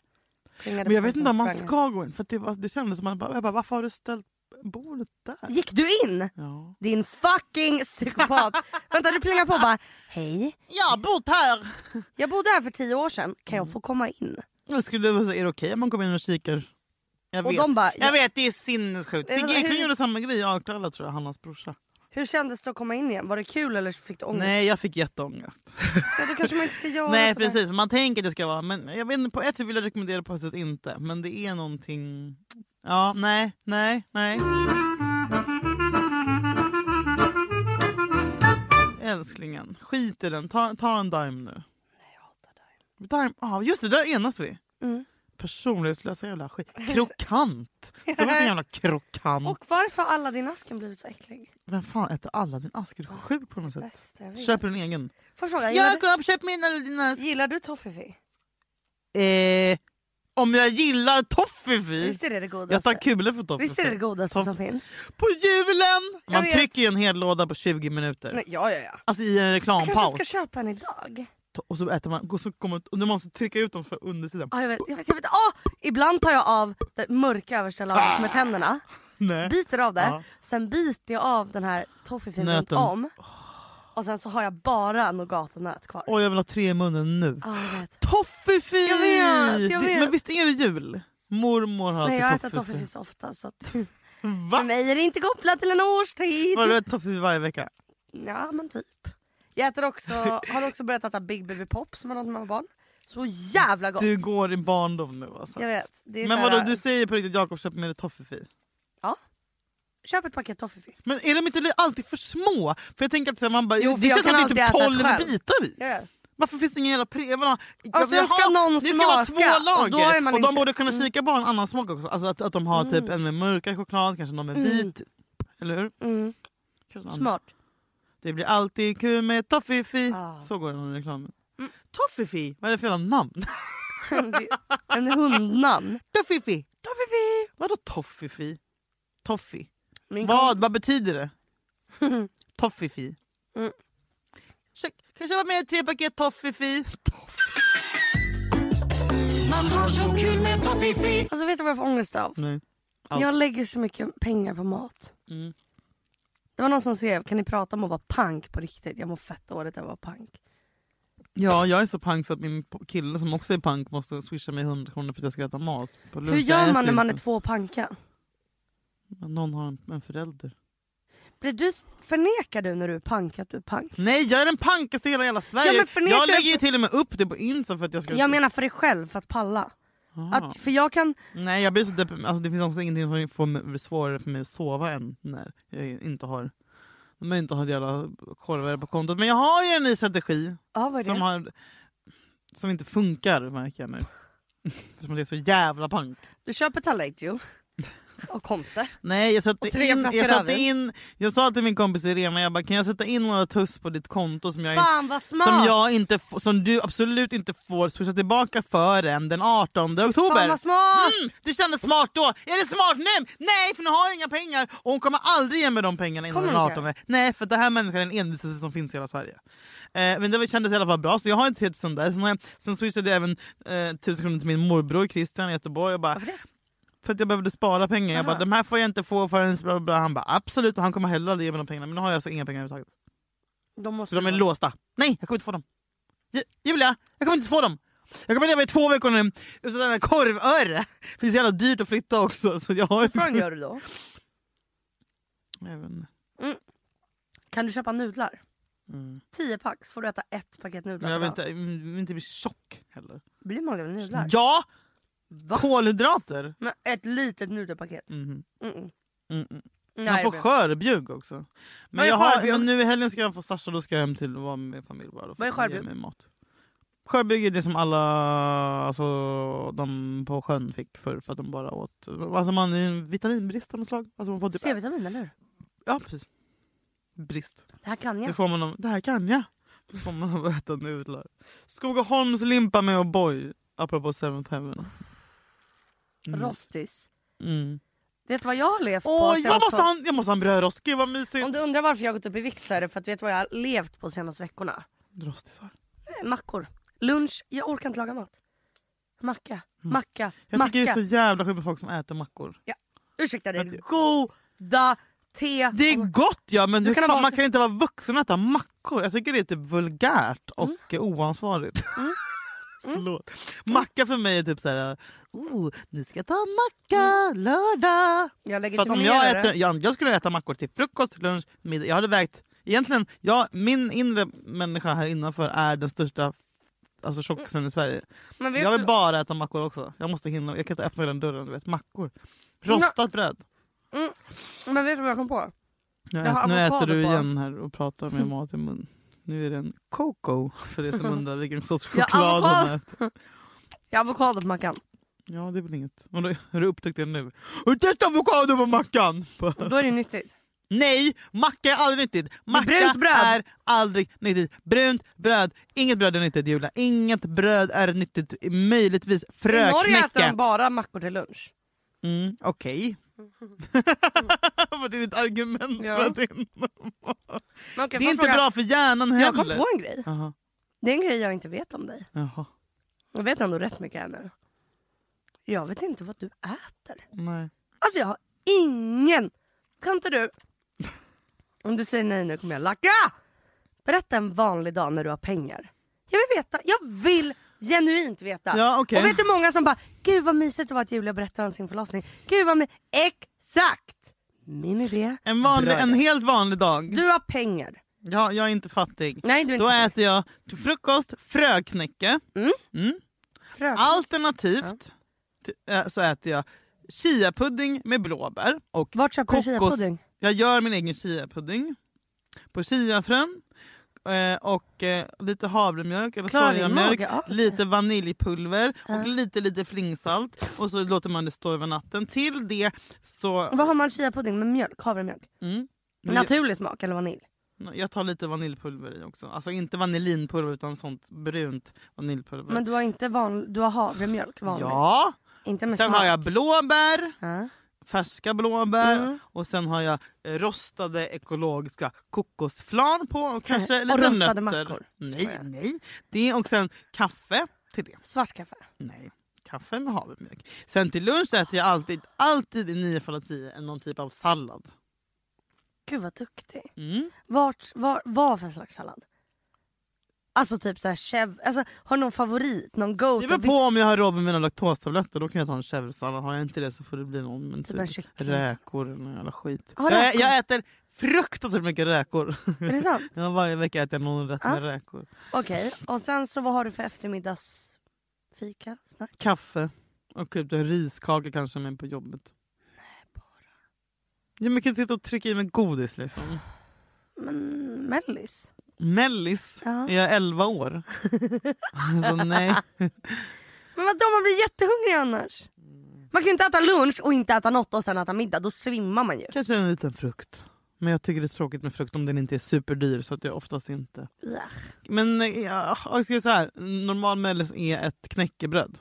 [SPEAKER 1] Plingade
[SPEAKER 2] Men jag
[SPEAKER 1] på
[SPEAKER 2] vet inte om man
[SPEAKER 1] sprang in.
[SPEAKER 2] ska gå in. För att det, var, det kändes som att man bara, jag bara, varför har du ställt bordet där?
[SPEAKER 1] Gick du in?
[SPEAKER 2] Ja.
[SPEAKER 1] Din fucking psykopat. Vänta, du plingar på och bara, hej.
[SPEAKER 2] Jag har bott här!
[SPEAKER 1] Jag bodde här för tio år sedan, kan
[SPEAKER 2] Mm.
[SPEAKER 1] jag få komma in?
[SPEAKER 2] Jag skulle vara så, är det okej om man kommer in och kikar? Jag
[SPEAKER 1] Och
[SPEAKER 2] vet,
[SPEAKER 1] de bara, ja.
[SPEAKER 2] jag vet det är sinnessjukt.
[SPEAKER 1] Men
[SPEAKER 2] Sigge
[SPEAKER 1] hur-
[SPEAKER 2] Eklund gjorde samma grej i Aktuella tror jag, Hannas brorsa.
[SPEAKER 1] Hur kändes det att komma in igen? Var det kul eller fick du ångest?
[SPEAKER 2] Nej jag fick jätteångest.
[SPEAKER 1] Ja, då kanske man inte ska göra
[SPEAKER 2] Nej
[SPEAKER 1] sådär.
[SPEAKER 2] precis, man tänker att det ska vara, men jag vet inte, på ett sätt vill jag rekommendera det, på ett sätt inte. Men det är någonting... Ja, nej, nej, nej. Älsklingen, skit i den. Ta, ta en Dime nu. Dime, ah, just det, där enas vi.
[SPEAKER 1] Mm.
[SPEAKER 2] Personlighetslösa jävla skit. Krokant! Står det en jävla krokant?
[SPEAKER 1] Och varför har alla din asken blivit så äcklig?
[SPEAKER 2] Vem fan äter alla din ask? Är du sjuk på något sätt?
[SPEAKER 1] Bästa jag vet.
[SPEAKER 2] Köp en egen.
[SPEAKER 1] Får jag fråga, gillar,
[SPEAKER 2] Jakob, köp min eller din ask.
[SPEAKER 1] du, gillar du
[SPEAKER 2] Mm.
[SPEAKER 1] toffefi?
[SPEAKER 2] Eh, om jag gillar toffefi?
[SPEAKER 1] Visst är det det godaste?
[SPEAKER 2] Jag tar kulor för toffefi.
[SPEAKER 1] Visst är det det godaste
[SPEAKER 2] Toff-
[SPEAKER 1] som finns?
[SPEAKER 2] På julen!
[SPEAKER 1] Jag
[SPEAKER 2] Man
[SPEAKER 1] vet.
[SPEAKER 2] trycker ju en hel låda på 20 minuter.
[SPEAKER 1] Nej, ja, ja, ja.
[SPEAKER 2] Alltså i en
[SPEAKER 1] Jag kanske
[SPEAKER 2] reklampaus.
[SPEAKER 1] ska köpa en idag?
[SPEAKER 2] To- Och så äter man, och så kommer, och du måste trycka ut dem från undersidan.
[SPEAKER 1] Ja, jag vet, jag vet, jag vet. Ah! Ibland tar jag av det mörka översta lagret med tänderna,
[SPEAKER 2] Nej.
[SPEAKER 1] biter av det,
[SPEAKER 2] Ah! Ja.
[SPEAKER 1] sen biter jag av den här toffifibern runt
[SPEAKER 2] Nöten.
[SPEAKER 1] om. och sen så har jag bara nougatenät kvar.
[SPEAKER 2] Oj, jag vill ha tre i munnen nu.
[SPEAKER 1] Ja, jag vet.
[SPEAKER 2] Toffifee!
[SPEAKER 1] Ah. Jag vet, jag
[SPEAKER 2] Det-
[SPEAKER 1] vet.
[SPEAKER 2] Men visst är det jul? Mormor har
[SPEAKER 1] Nej, jag
[SPEAKER 2] alltid
[SPEAKER 1] äter
[SPEAKER 2] toffifee.
[SPEAKER 1] toffifee så ofta så att för
[SPEAKER 2] Va?
[SPEAKER 1] mig är det inte kopplat till en årstid.
[SPEAKER 2] Har du ätit toffifee varje vecka?
[SPEAKER 1] Ja men typ. Jag äter också, har också börjat äta Big Baby Pop som man åt när man var barn. Så jävla gott.
[SPEAKER 2] Du går i barndom nu alltså.
[SPEAKER 1] Jag vet. Det är
[SPEAKER 2] Men
[SPEAKER 1] såhär,
[SPEAKER 2] vadå, du säger på riktigt Jakob köp med dig toffifee.
[SPEAKER 1] Köp ett paket toffifee.
[SPEAKER 2] Men är de inte li- alltid för små? För jag tänker att så här, man bara,
[SPEAKER 1] Jo, för
[SPEAKER 2] det
[SPEAKER 1] jag
[SPEAKER 2] känns som
[SPEAKER 1] kan
[SPEAKER 2] att det är typ
[SPEAKER 1] alltid äta
[SPEAKER 2] 12
[SPEAKER 1] själv.
[SPEAKER 2] bitar i.
[SPEAKER 1] Jag vet.
[SPEAKER 2] Varför finns det ingen jävla pre... Jag vill ha-
[SPEAKER 1] Alltså,
[SPEAKER 2] jag vill
[SPEAKER 1] ska
[SPEAKER 2] ha-
[SPEAKER 1] någon
[SPEAKER 2] det ska vara
[SPEAKER 1] smaka,
[SPEAKER 2] två
[SPEAKER 1] och då
[SPEAKER 2] lager.
[SPEAKER 1] är man
[SPEAKER 2] Och, de
[SPEAKER 1] inte- Mm.
[SPEAKER 2] borde kunna kika på en annan smak också. Alltså att, att de har typ en med mörkare choklad, kanske någon med vit. Eller hur?
[SPEAKER 1] Mm.
[SPEAKER 2] Kanske någon annan.
[SPEAKER 1] Smart.
[SPEAKER 2] Det blir alltid kul med Toffifee.
[SPEAKER 1] Ah. Mm.
[SPEAKER 2] Så går den i reklamen. Toffifee, vad är det för jävla namn?
[SPEAKER 1] en hundnamn.
[SPEAKER 2] Toffifee,
[SPEAKER 1] Toffifee.
[SPEAKER 2] vadå Toffifee? Toffi?
[SPEAKER 1] Min
[SPEAKER 2] Vad, vad betyder det? Toffifee.
[SPEAKER 1] Mm.
[SPEAKER 2] Check. Kanske var med tre paket Toffifee.
[SPEAKER 1] kompis- Alltså vet du vad jag får ångest av?
[SPEAKER 2] Nej. Mm, Allt.
[SPEAKER 1] Jag lägger så mycket pengar på mat.
[SPEAKER 2] Mm.
[SPEAKER 1] Det var någon som skrev, kan ni prata om att vara pank på riktigt? Jag mår fett dåligt av att vara pank.
[SPEAKER 2] Ja, jag är så pank så att min po- kille som också är pank måste swisha mig 100 kronor för att jag ska äta mat. På lunch.
[SPEAKER 1] Hur
[SPEAKER 2] Jag
[SPEAKER 1] gör man
[SPEAKER 2] äter
[SPEAKER 1] när man är
[SPEAKER 2] inte.
[SPEAKER 1] två panka?
[SPEAKER 2] Någon har en, en förälder.
[SPEAKER 1] Blir du, förnekar du när du är pank att du är pank?
[SPEAKER 2] Nej, jag är den pankaste i hela, hela Sverige.
[SPEAKER 1] Ja, men förnekar
[SPEAKER 2] jag
[SPEAKER 1] du-
[SPEAKER 2] lägger ju till och med upp det på Insta för att jag ska...
[SPEAKER 1] Jag menar för dig själv, för att palla.
[SPEAKER 2] Ah.
[SPEAKER 1] Att, för jag kan,
[SPEAKER 2] Nej, jag blir så depp... alltså, det finns också ingenting som får mig- svårare för mig att sova än när jag inte har när jag inte har jävla korvar på kontot. Men jag har ju en ny strategi
[SPEAKER 1] ja vad är det?
[SPEAKER 2] som, har, som inte funkar märker jag nu. Eftersom det är så jävla pank.
[SPEAKER 1] Du köper Taleggio och Comte.
[SPEAKER 2] Nej, jag satte,
[SPEAKER 1] Och tre
[SPEAKER 2] in,
[SPEAKER 1] flaskor
[SPEAKER 2] jag satte
[SPEAKER 1] rödvin.
[SPEAKER 2] in... Jag sa till min kompis Irena, jag bara, kan jag sätta in några tuss på ditt konto som jag inte
[SPEAKER 1] Fan vad smart!
[SPEAKER 2] som, jag inte, f- som du absolut inte får swisha tillbaka förrän den 18
[SPEAKER 1] Fan
[SPEAKER 2] oktober.
[SPEAKER 1] vad smart!
[SPEAKER 2] Mm, det kändes smart då. Är det smart nu? Nej, för nu har jag inga pengar. Och hon kommer aldrig ge mig de pengarna innan
[SPEAKER 1] Kommer
[SPEAKER 2] den
[SPEAKER 1] hon inte
[SPEAKER 2] 18. Nej, för det här människan är den envisaste som finns i hela Sverige. Eh, men det var- kändes i alla fall bra, så jag har en 3000 där. Sen, har jag, sen swishade jag även eh, 1000 kronor till min morbror Christian i Göteborg. Jag bara,
[SPEAKER 1] Varför det?
[SPEAKER 2] för att jag behövde spara pengar. Jag
[SPEAKER 1] Aha.
[SPEAKER 2] bara, de här får jag inte få förrän... bla, bla, bla. Han bara, absolut. Och han kommer heller aldrig ge mig de pengarna. Men nu har jag alltså inga pengar överhuvudtaget.
[SPEAKER 1] De måste
[SPEAKER 2] För de är
[SPEAKER 1] vara-
[SPEAKER 2] låsta. Nej, jag kommer inte få dem. Ju- Julia, jag kommer inte få dem. Jag kommer leva i två veckor nu utan denna korvöre. Det är så jävla dyrt att flytta också. Så jag har ju...
[SPEAKER 1] Vad fan gör du då?
[SPEAKER 2] Även...
[SPEAKER 1] Kan du köpa nudlar?
[SPEAKER 2] Mm.
[SPEAKER 1] 10 pack så får du äta ett paket nudlar
[SPEAKER 2] Men jag
[SPEAKER 1] per
[SPEAKER 2] vill
[SPEAKER 1] dag.
[SPEAKER 2] inte, jag vill inte bli tjock heller.
[SPEAKER 1] Blir man av nudlar?
[SPEAKER 2] Ja!
[SPEAKER 1] Va?
[SPEAKER 2] Kolhydrater.
[SPEAKER 1] Men ett litet nudelpaket?
[SPEAKER 2] Mhm.
[SPEAKER 1] Mm.
[SPEAKER 2] Mm.
[SPEAKER 1] Nej,
[SPEAKER 2] Man får
[SPEAKER 1] det-
[SPEAKER 2] skörbjugg också.
[SPEAKER 1] Vad
[SPEAKER 2] Men,
[SPEAKER 1] är
[SPEAKER 2] jag har,
[SPEAKER 1] skörbjugg?
[SPEAKER 2] men nu i helgen ska jag få Sasha då ska jag hem till och vara med familj. Bara,
[SPEAKER 1] Vad är skörbjugg?
[SPEAKER 2] Med mat. Skörbjugg är det som alla alltså, de på sjön fick förr för att de bara åt. Alltså man är en vitaminbrist av något slag. Alltså man får typ,
[SPEAKER 1] C-vitamin eller hur?
[SPEAKER 2] ja precis. Brist.
[SPEAKER 1] Det här kan
[SPEAKER 2] Det
[SPEAKER 1] jag.
[SPEAKER 2] får man av, det här kan jag. Det får man av att äta nudlar. Skogaholmslimpa med O'boy. Apropå Seventh Heaven. Mm.
[SPEAKER 1] Rostis.
[SPEAKER 2] Mm.
[SPEAKER 1] Vet du vad jag har levt på
[SPEAKER 2] Åh, jag,
[SPEAKER 1] senaste-
[SPEAKER 2] måste ha en, jag måste ha en brödrost, gud vad mysigt!
[SPEAKER 1] Om du undrar varför jag har gått upp i vikt så är det för att vet du vad jag har levt på senaste veckorna?
[SPEAKER 2] Rostisar.
[SPEAKER 1] Eh, Mackor. Lunch. Jag orkar inte laga mat. Macka, macka,
[SPEAKER 2] Mm. Jag
[SPEAKER 1] macka.
[SPEAKER 2] tycker det är så jävla sjukt med folk som äter mackor.
[SPEAKER 1] Ursäkta dig,
[SPEAKER 2] Att jag-
[SPEAKER 1] goda te.
[SPEAKER 2] Det är gott ja, men
[SPEAKER 1] Du
[SPEAKER 2] hur
[SPEAKER 1] kan ha
[SPEAKER 2] fan,
[SPEAKER 1] valt-
[SPEAKER 2] man kan inte vara vuxen och äta mackor. Jag tycker det är typ vulgärt och oansvarigt. Förlåt. Macka för mig är typ såhär, oh, nu ska jag ta en macka lördag.
[SPEAKER 1] Jag
[SPEAKER 2] För att om jag, äter, jag, jag skulle äta mackor till frukost, lunch, middag. Jag hade vägt... Egentligen, jag, min inre människa här innanför är den största alltså tjockisen i Sverige.
[SPEAKER 1] Men vet
[SPEAKER 2] Jag
[SPEAKER 1] du-
[SPEAKER 2] vill bara äta mackor också. Jag måste hinna, jag kan inte öppna den dörren. Du vet, mackor. Rostat bröd.
[SPEAKER 1] Men vet du vad jag kom på?
[SPEAKER 2] Nu,
[SPEAKER 1] Jag har
[SPEAKER 2] ät, nu
[SPEAKER 1] avokado
[SPEAKER 2] äter du
[SPEAKER 1] bara.
[SPEAKER 2] igen här och pratar med mat i mun. Nu är det en coco för det som undrar vilken sorts
[SPEAKER 1] Jag har
[SPEAKER 2] choklad
[SPEAKER 1] avokado.
[SPEAKER 2] hon äter.
[SPEAKER 1] Jag har avokado på mackan.
[SPEAKER 2] Ja det är väl inget. Men då, har du upptäckt det nu? Har du testat avokado på mackan?
[SPEAKER 1] Då är det nyttigt.
[SPEAKER 2] Nej! Macka är aldrig nyttigt. Macka
[SPEAKER 1] brunt bröd.
[SPEAKER 2] är aldrig nyttigt. Brunt bröd. Inget bröd är nyttigt Julia. Inget bröd är nyttigt. Möjligtvis
[SPEAKER 1] I Norge äter de
[SPEAKER 2] fröknäcke.
[SPEAKER 1] bara mackor till lunch.
[SPEAKER 2] Mm, Okej. Vad är ditt argument
[SPEAKER 1] Ja.
[SPEAKER 2] för att det är,
[SPEAKER 1] Men okej,
[SPEAKER 2] det
[SPEAKER 1] får
[SPEAKER 2] är
[SPEAKER 1] jag
[SPEAKER 2] inte
[SPEAKER 1] fråga-
[SPEAKER 2] bra för hjärnan heller.
[SPEAKER 1] Jag kom på en grej.
[SPEAKER 2] Jaha.
[SPEAKER 1] Det är en grej jag inte vet om dig.
[SPEAKER 2] Jaha.
[SPEAKER 1] Jag vet ändå rätt mycket här nu. Jag vet inte vad du äter.
[SPEAKER 2] Nej.
[SPEAKER 1] Alltså jag har ingen. Kan inte du? Om du säger nej nu kommer jag lacka. Berätta en vanlig dag när du har pengar. Jag vill veta. Jag vill genuint veta.
[SPEAKER 2] Ja, okej.
[SPEAKER 1] Och vet du många som bara, gud vad mysigt det var att Julia berättade om sin förlossning. Gud vad my- Exakt! Min idé.
[SPEAKER 2] En, vanlig,
[SPEAKER 1] Bra.
[SPEAKER 2] en helt vanlig dag.
[SPEAKER 1] Du har pengar.
[SPEAKER 2] Ja, jag är inte fattig.
[SPEAKER 1] Nej du är inte
[SPEAKER 2] Då
[SPEAKER 1] fattig.
[SPEAKER 2] äter jag till frukost fröknäcke.
[SPEAKER 1] Frö-
[SPEAKER 2] Alternativt t- eh, så äter jag chiapudding med blåbär. Och
[SPEAKER 1] Vart köper du
[SPEAKER 2] kokos-
[SPEAKER 1] chiapudding?
[SPEAKER 2] Jag gör min egen chiapudding på chiafrön. eh, Och eh, lite havremjölk eller
[SPEAKER 1] Klar i
[SPEAKER 2] sojamjölk,
[SPEAKER 1] magen, ja.
[SPEAKER 2] lite vaniljpulver och lite lite flingsalt. Och så låter man det stå över natten. Till det så...
[SPEAKER 1] Vad har man chiapudding med mjölk? Havremjölk?
[SPEAKER 2] Mm.
[SPEAKER 1] Naturlig smak eller vanilj?
[SPEAKER 2] Jag tar lite vaniljpulver i också. Alltså inte vaniljpulver utan sånt brunt vaniljpulver.
[SPEAKER 1] Men du har inte van... du har havremjölk vanlig?
[SPEAKER 2] ja,
[SPEAKER 1] Inte med
[SPEAKER 2] sen
[SPEAKER 1] smak. Mm.
[SPEAKER 2] har jag blåbär,
[SPEAKER 1] Ja.
[SPEAKER 2] färska blåbär och sen har jag eh, rostade ekologiska kokosflarn på och kanske
[SPEAKER 1] Och
[SPEAKER 2] lite
[SPEAKER 1] rostade
[SPEAKER 2] nötter.
[SPEAKER 1] mackor.
[SPEAKER 2] Nej,
[SPEAKER 1] Skojar.
[SPEAKER 2] nej. Det och sen kaffe till det.
[SPEAKER 1] Svart kaffe.
[SPEAKER 2] Nej, kaffe med havremjölk. Sen till lunch äter jag alltid, alltid i nio fall av tio en- någon typ av sallad.
[SPEAKER 1] Gud vad duktig.
[SPEAKER 2] Mm.
[SPEAKER 1] Vart, var, vad för slags sallad? Alltså typ såhär chev... Alltså, har du någon favorit? Någon go
[SPEAKER 2] Det beror på om jag har råd med mina laktastabletter, då kan jag ta en chèvresallad. Har jag inte det så får det bli någon men
[SPEAKER 1] Typ en
[SPEAKER 2] typ
[SPEAKER 1] kyckling.
[SPEAKER 2] räkor eller någon jävla skit.
[SPEAKER 1] Har
[SPEAKER 2] jag,
[SPEAKER 1] räkor?
[SPEAKER 2] jag äter fruktansvärt mycket räkor.
[SPEAKER 1] Är det sant?
[SPEAKER 2] Ja, varje vecka äter jag någon rätt med räkor.
[SPEAKER 1] Okej, och sen så vad har du för eftermiddagsfika? Snack?
[SPEAKER 2] Kaffe och typ en riskaka kanske med på jobbet. Nej, bara. Ja, man kan inte sitta och trycka i mig godis liksom.
[SPEAKER 1] Men mellis?
[SPEAKER 2] Mellis,
[SPEAKER 1] Ja.
[SPEAKER 2] är jag 11 år? alltså nej.
[SPEAKER 1] Men vadå man blir jättehungrig annars? Man kan ju inte äta lunch och inte äta något och sen äta middag, då svimmar man ju.
[SPEAKER 2] Kanske en liten frukt. Men jag tycker det är tråkigt med frukt om den inte är superdyr så att jag oftast inte
[SPEAKER 1] Ugh.
[SPEAKER 2] Men eh, ja, jag ska säga så här. normal mellis är ett knäckebröd.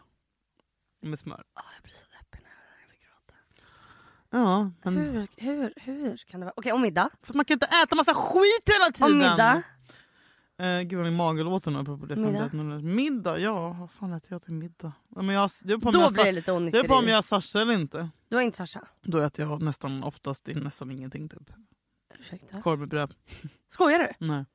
[SPEAKER 2] Med smör.
[SPEAKER 1] Ah, jag blir så deppig när jag hör det. Jag vill gråta.
[SPEAKER 2] Ja, men,
[SPEAKER 1] Hur, hur, hur kan det vara? Okej och middag?
[SPEAKER 2] för att man kan inte äta massa skit hela
[SPEAKER 1] Och
[SPEAKER 2] tiden!
[SPEAKER 1] middag?
[SPEAKER 2] Eh, gud vad min mage låter nu apropå det.
[SPEAKER 1] Middag?
[SPEAKER 2] Middag. middag, ja vad fan äter jag till middag? Ja, men jag, det är på om
[SPEAKER 1] Då
[SPEAKER 2] jag,
[SPEAKER 1] blir det
[SPEAKER 2] sa-
[SPEAKER 1] lite
[SPEAKER 2] det är på om
[SPEAKER 1] onytteri.
[SPEAKER 2] jag sarsar eller inte.
[SPEAKER 1] Du har inte Sasha?
[SPEAKER 2] Då äter jag nästan oftast in, nästan ingenting typ.
[SPEAKER 1] Ursäkta?
[SPEAKER 2] Korv med bröd.
[SPEAKER 1] Skojar du?
[SPEAKER 2] Nej.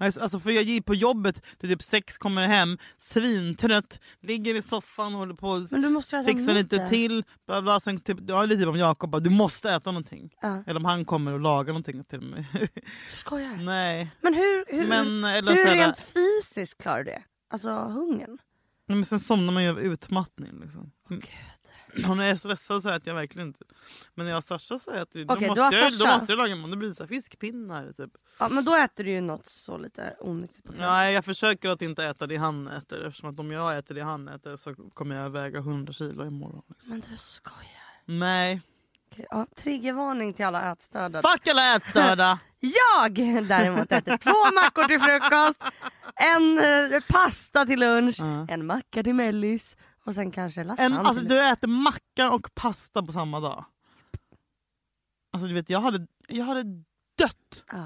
[SPEAKER 2] Alltså alltså, för jag gick på jobbet till typ sex, kommer hem, svintrött, ligger i soffan, håller på och
[SPEAKER 1] Men du måste ju äta
[SPEAKER 2] Fixa lite
[SPEAKER 1] middag.
[SPEAKER 2] till. Bla bla. Sen typ, ja, lite om Jakob bara, du måste äta någonting.
[SPEAKER 1] Ja.
[SPEAKER 2] Eller om han kommer och lagar någonting till mig.
[SPEAKER 1] Du skojar?
[SPEAKER 2] Nej.
[SPEAKER 1] Men hur, hur,
[SPEAKER 2] Men, eller
[SPEAKER 1] hur
[SPEAKER 2] så här,
[SPEAKER 1] rent fysiskt klarar du det? Alltså hungern?
[SPEAKER 2] Nej, men sen somnar man ju av utmattning. Liksom. Om jag är stressad så äter jag verkligen inte. Men när jag har Sasha så äter jag,
[SPEAKER 1] Okej,
[SPEAKER 2] då,
[SPEAKER 1] du har
[SPEAKER 2] måste jag, då
[SPEAKER 1] Sasha.
[SPEAKER 2] måste jag laga mat. Då blir det så här fiskpinnar. Typ.
[SPEAKER 1] Ja men då äter du ju något så lite onyttigt på kvällen.
[SPEAKER 2] Nej, jag försöker att inte äta det han äter. Eftersom att om jag äter det han äter så kommer jag väga 100 kilo imorgon. Liksom.
[SPEAKER 1] Men du skojar.
[SPEAKER 2] Nej.
[SPEAKER 1] Okej, ja, triggervarning till alla ätstörda.
[SPEAKER 2] Fuck alla ätstörda!
[SPEAKER 1] Jag däremot äter två mackor till frukost, en eh, pasta till lunch,
[SPEAKER 2] Ja.
[SPEAKER 1] en macka till mellis och sen kanske
[SPEAKER 2] En,
[SPEAKER 1] lasagne.
[SPEAKER 2] alltså,
[SPEAKER 1] till-
[SPEAKER 2] du äter macka och pasta på samma dag. Alltså du vet, jag hade, jag hade dött.
[SPEAKER 1] ja.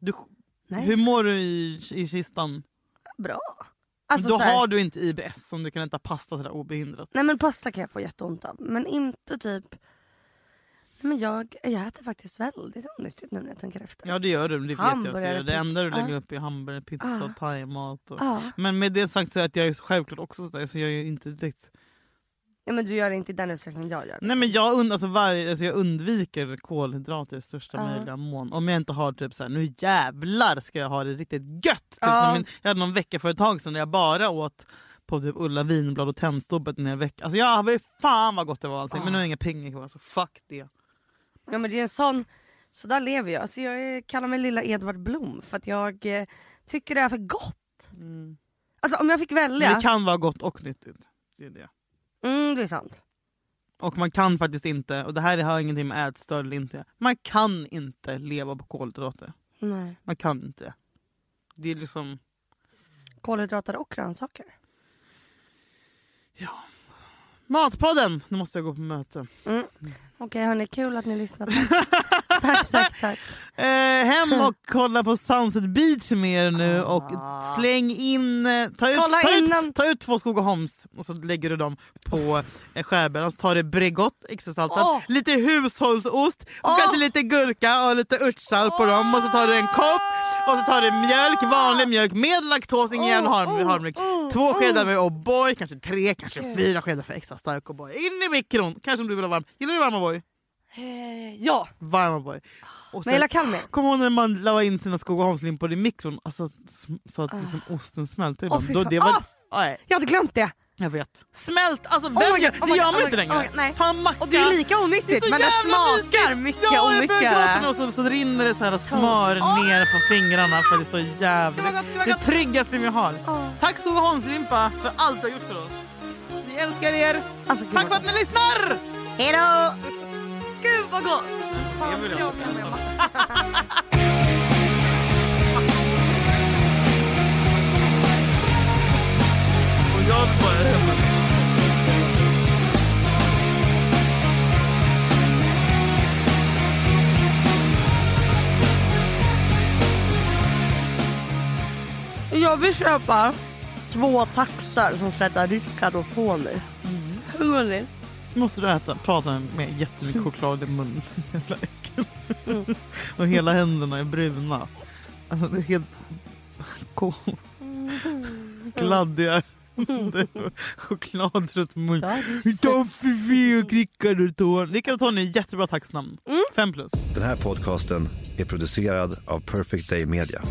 [SPEAKER 2] Du,
[SPEAKER 1] Nej,
[SPEAKER 2] hur mår du i, i kistan?
[SPEAKER 1] bra. Alltså,
[SPEAKER 2] Då
[SPEAKER 1] så här-
[SPEAKER 2] har du inte IBS som du kan äta pasta sådär obehindrat.
[SPEAKER 1] Nej men pasta kan jag få jätteont av. Men inte typ... Nej, men jag, jag äter faktiskt väldigt onyttigt nu när jag tänker efter.
[SPEAKER 2] Ja det gör du, det vet jag att du
[SPEAKER 1] Hamburgare,
[SPEAKER 2] gör. Det enda du
[SPEAKER 1] pizza.
[SPEAKER 2] lägger upp är hamburgare, pizza,
[SPEAKER 1] Ah.
[SPEAKER 2] thaimat. Och...
[SPEAKER 1] Ja.
[SPEAKER 2] Men med det sagt så är att jag ju självklart också sådär så jag är ju inte direkt...
[SPEAKER 1] ja men du gör det inte i den utsträckning jag gör det.
[SPEAKER 2] Nej men jag, und, alltså varje, alltså jag undviker kolhydrater i största
[SPEAKER 1] Ja.
[SPEAKER 2] möjliga mån. Om jag inte har typ såhär, nu jävlar ska jag ha det riktigt gött. Typ
[SPEAKER 1] Ja.
[SPEAKER 2] som min, jag hade någon vecka för ett tag sedan där jag bara åt på typ Ulla Vinblad och Tennstoppet en hel vecka. Alltså jag vet fan vad gott det var allting men nu har jag inga pengar kvar så fuck det.
[SPEAKER 1] Ja men det är en sån... Så där lever jag. Alltså, jag eh, kallar mig lilla Edvard Blom för att jag eh, tycker det är för gott. Alltså om jag fick
[SPEAKER 2] Men
[SPEAKER 1] välja.
[SPEAKER 2] det kan vara gott och nyttigt. Det är det.
[SPEAKER 1] Mm det är sant.
[SPEAKER 2] Och man kan faktiskt inte, och det här har ingenting med ätstörd eller inte man kan inte leva på kolhydrater.
[SPEAKER 1] Nej.
[SPEAKER 2] Man kan inte det. Det är liksom,
[SPEAKER 1] Kolhydrater och grönsaker.
[SPEAKER 2] Matpodden! Nu måste jag gå på möte.
[SPEAKER 1] Mm. Okej hörni, kul att ni lyssnade. tack tack tack.
[SPEAKER 2] Eh, hem och kolla på Sunset Beach med er nu och släng in... eh, Ta ut,
[SPEAKER 1] Kolla
[SPEAKER 2] ta
[SPEAKER 1] innan.
[SPEAKER 2] ut, ta ut två Skogaholms och så lägger du dem på eh, skärbrädan. Så tar du Bregott, extrasaltat,
[SPEAKER 1] Åh.
[SPEAKER 2] lite hushållsost och
[SPEAKER 1] Åh.
[SPEAKER 2] kanske lite gurka och lite örtsalt på dem. Och så tar du en kopp Och så tar du mjölk, vanlig mjölk med laktos, ingen jävla harm- harmlek. Två skedar med O'boy, kanske tre, kanske fyra skedar för extra stark O'boy. In i mikron, kanske om du vill ha varm. Gillar du varm O'boy?
[SPEAKER 1] Eh, ja,
[SPEAKER 2] Varm O'boy. Och
[SPEAKER 1] men jag gillar kalmia.
[SPEAKER 2] Kommer hon när man la in sina Skogaholmslimpor i mikron alltså, sm- så att liksom osten smälter?
[SPEAKER 1] Ah. Åh,
[SPEAKER 2] ibland.
[SPEAKER 1] fy
[SPEAKER 2] Då-
[SPEAKER 1] fan.
[SPEAKER 2] det var,
[SPEAKER 1] Ah!
[SPEAKER 2] nej,
[SPEAKER 1] Jag hade glömt det.
[SPEAKER 2] jag vet. Smält! Alltså vem
[SPEAKER 1] my
[SPEAKER 2] gör,
[SPEAKER 1] God, oh
[SPEAKER 2] det
[SPEAKER 1] my
[SPEAKER 2] gör
[SPEAKER 1] God,
[SPEAKER 2] man
[SPEAKER 1] oh
[SPEAKER 2] inte
[SPEAKER 1] my God,
[SPEAKER 2] längre.
[SPEAKER 1] oh my- nej.
[SPEAKER 2] Ta en macka.
[SPEAKER 1] Och det är lika
[SPEAKER 2] Det är
[SPEAKER 1] onyttigt
[SPEAKER 2] så
[SPEAKER 1] men det
[SPEAKER 2] jävla
[SPEAKER 1] smakar
[SPEAKER 2] mysigt.
[SPEAKER 1] mycket
[SPEAKER 2] ja, jag börjar gråta nu
[SPEAKER 1] onyttigare.
[SPEAKER 2] och så, så rinner det så här smör ner på fingrarna för det är så jävligt.
[SPEAKER 1] Det var gott, det var
[SPEAKER 2] Det är
[SPEAKER 1] gott.
[SPEAKER 2] tryggaste vi har.
[SPEAKER 1] Ja.
[SPEAKER 2] Tack Skogaholmslimpa för allt du har gjort för oss. Vi älskar er.
[SPEAKER 1] Alltså, gud,
[SPEAKER 2] Tack
[SPEAKER 1] vad
[SPEAKER 2] för att ni lyssnar!
[SPEAKER 1] Hejdå! Gud vad gott! Fan,
[SPEAKER 2] vill ha
[SPEAKER 1] jag
[SPEAKER 2] det.
[SPEAKER 1] kan leva.
[SPEAKER 2] Och jag vill bara hemma.
[SPEAKER 1] Jag vill köpa två taxar som ska heta Rickard och Tony. Hur går det?
[SPEAKER 2] måste du äta, prata med jättemycket choklad i munnen. Jävla äckel. Och hela händerna är bruna. Alltså det är helt ko- kladdiga händer och choklad runt munnen. Toffifee och Rickard och Tony. Rickard och Tony är jättebra taxnamn. Fem plus.
[SPEAKER 4] Den här podcasten är producerad av Perfect Day Media.